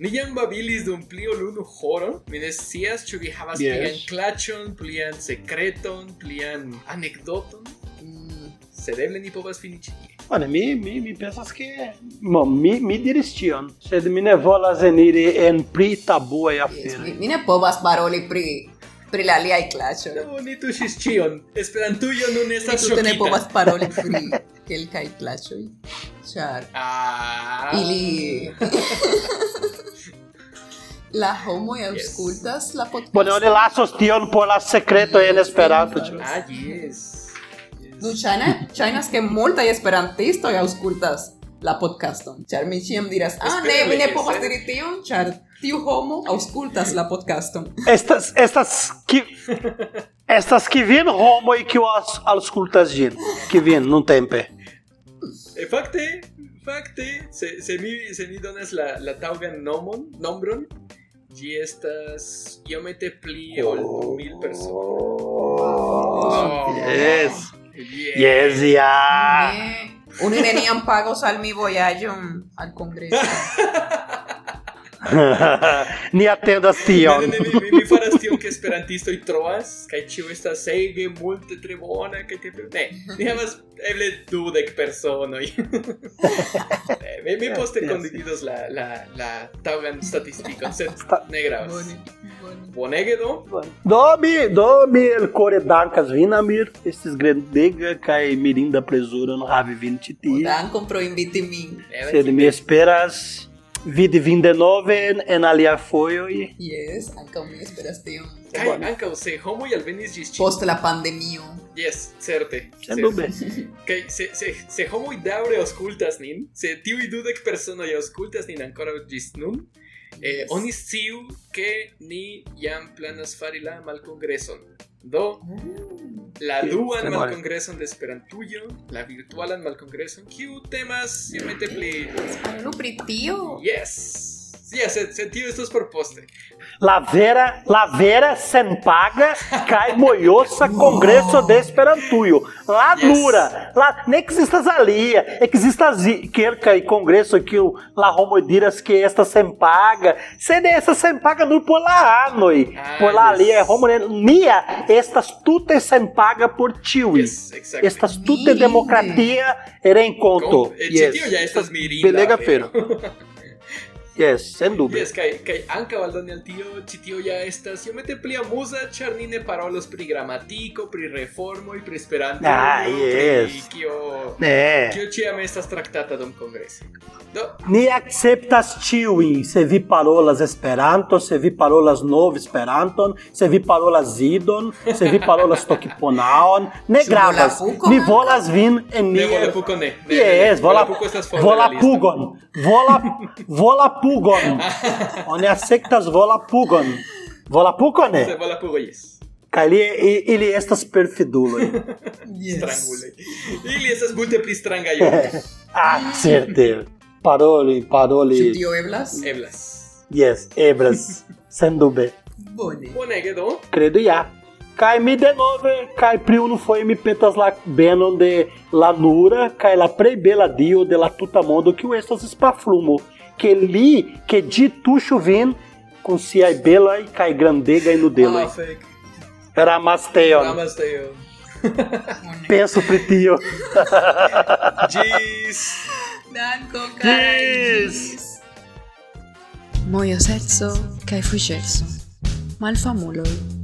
S3: Niyan babilis dum plio lunu horo, mi ne scias ĉu vi havas
S2: Yes.
S3: plian klaĉon, plian sekreton, plian anekdoton,
S4: Mm,
S3: sed eble ni povas fini ĉi tie.
S2: Mano, mi, mi, mi pensas que. Bom, mi, mi diris tion. Sed mi ne volas eniri en pri tabua e
S4: yes.
S2: afero.
S4: Mi, mi ne povas paroli pri pri la aliaj klaĉoj.
S3: Do ni tuŝis ĉion. Esperantujo nun
S4: Mi
S3: estas
S4: tute ne
S3: ŝokita.
S4: povas paroli pri kelkaj klaĉoj, ĉar
S3: Ah.
S4: ili la homoj aŭskultas la
S2: Bone, oni
S4: podcaston.
S2: lasos tion por la secreto en Esperanto. ĉu?
S3: Ah, yes.
S4: Du ĉajne ŝajnas ke multaj esperantistoj aŭskultas la podcaston, ĉar mi ĉiam diras, ah ne, mi ne
S3: Espereble,
S4: povas
S3: yes, eh."
S4: diri tion, ĉar tiu homo aŭskultas la podcaston.
S2: Estas, estas que. Estas que vin homo e que os auscultas gin. Que vin, não tem pé.
S3: E fakte, fakte, se, se, mi, se mi donas la, la taŭgan nomon, nombron, ĝi estas iomete pli ol du mil personoj. Oh,
S2: Yes.
S3: yes.
S2: Yes, yeah.
S4: Ne, Oni neniam pagos al mi vojaĝon al kongreso.
S2: Ni atendas tion.
S3: Ne, ne, ne, mi, mi faras tion ke esperantistoj trovas kaj ĉiu estas ege multe tre bona kaj te ne ni havas eble dudek personoj Ne, Eh, mi, mi poste
S2: Yes, yes.
S3: kondividos la la la taŭgan statistikon sed
S2: Sta-
S3: ne gravas
S4: Bone, bone.
S3: bonege do
S2: Domi, domi, el core dancas vinamir, esses grandega cai mirinda presura no rave vintiti.
S4: Dankon pro inviti min.
S3: Ne,
S2: Sed mi esperas vidi vin denoven en alia foioi.
S4: Yes, ankaŭ mi esperas tion.
S3: Kaj ankaŭ se homoj alvenis ĝis ĉi.
S4: Post la pandemio.
S3: Yes, certe.
S2: Sendube.
S3: Kaj se se se homoj daŭre aŭskultas nin, se tiuj dudek personoj aŭskultas nin ankoraŭ ĝis nun, eh, oni sciu ke ni jam planas fari la malkongreson. Do la
S2: Yes,
S3: duan
S2: tre bone.
S3: malkongreson de Esperantujo, la virtualan malkongreson, kiu temas iomete pli...
S4: Parolu pri tio.
S3: Yes! Yes, se, se tio estos por poste.
S2: Lavera, lavera sem paga, cai moiosa congresso de esperantuio. Lá
S3: Yes.
S2: dura, lá nem que é existas alia, existas quelca e congresso que o la homodiras que é esta sem paga, sede esta sem paga no por lá anoi.
S3: Ah,
S2: por lá
S3: yes.
S2: ali é homo nia, estas tutte sem paga por tio.
S3: Yes, exacte.
S2: Estas tutte
S4: Mire.
S2: democratia era encontro.
S3: Com- eh, Tio ya estas mirinda.
S2: Belega
S3: pero-
S2: feira. Yes, sem dúvida.
S3: Yes, kaj kaj ankaŭ aldone al tio, ĉi tio ja estas iomete pli amuza, ĉar ni ne parolos pri gramatiko, pri reformoj, pri Esperanto,
S2: Ah,
S3: pri
S2: yes.
S3: kio
S2: É.
S3: kio ĉiam estas traktata dum kongreso. Do,
S2: Ni acceptas tiuin, se vi parolas Esperanto, se vi parolas nov Esperanton, se vi parolas idon, se vi parolas tokponaon, ne
S4: Ĉu
S2: gravas.
S4: volapuko
S2: Ni
S4: ankaŭ?
S2: volas vin en ni.
S3: ne volapuko ne. ne, ne, ne.
S2: Yes, vola,
S3: volapuko estas for
S2: volapugon. Vola, volapugon. Oni acceptas volapugon. Volapukon,
S3: Se
S2: ne?
S3: volapuko yes.
S2: Kaj li, i- ili estas perfiduloj.
S3: Strangule. Ili estas multe pli strangaj ol
S2: Ah, certe. Paroli,
S4: Ĉu
S2: paroli.
S4: tio eblas?
S3: eblas.
S2: Yes, ebras. Sendube.
S4: Bone.
S3: Bonege do.
S2: Credo ia. Cai mi de novo, cai priu não foi mi petas la benon de la nura, cai la prebela dio de la tuta mondo que o estas spaflumo, que li, que di tu chuvin, com si ai bela e cai grandega e no delo.
S3: Ah, fek.
S2: Ramasteon.
S3: Namaste.
S2: Penso pri tio.
S3: Gis.
S4: Dankon kaj.
S2: Ĝis.
S4: ĝis.
S1: Mojo serco kaj fuĝerso. Malfamuloj.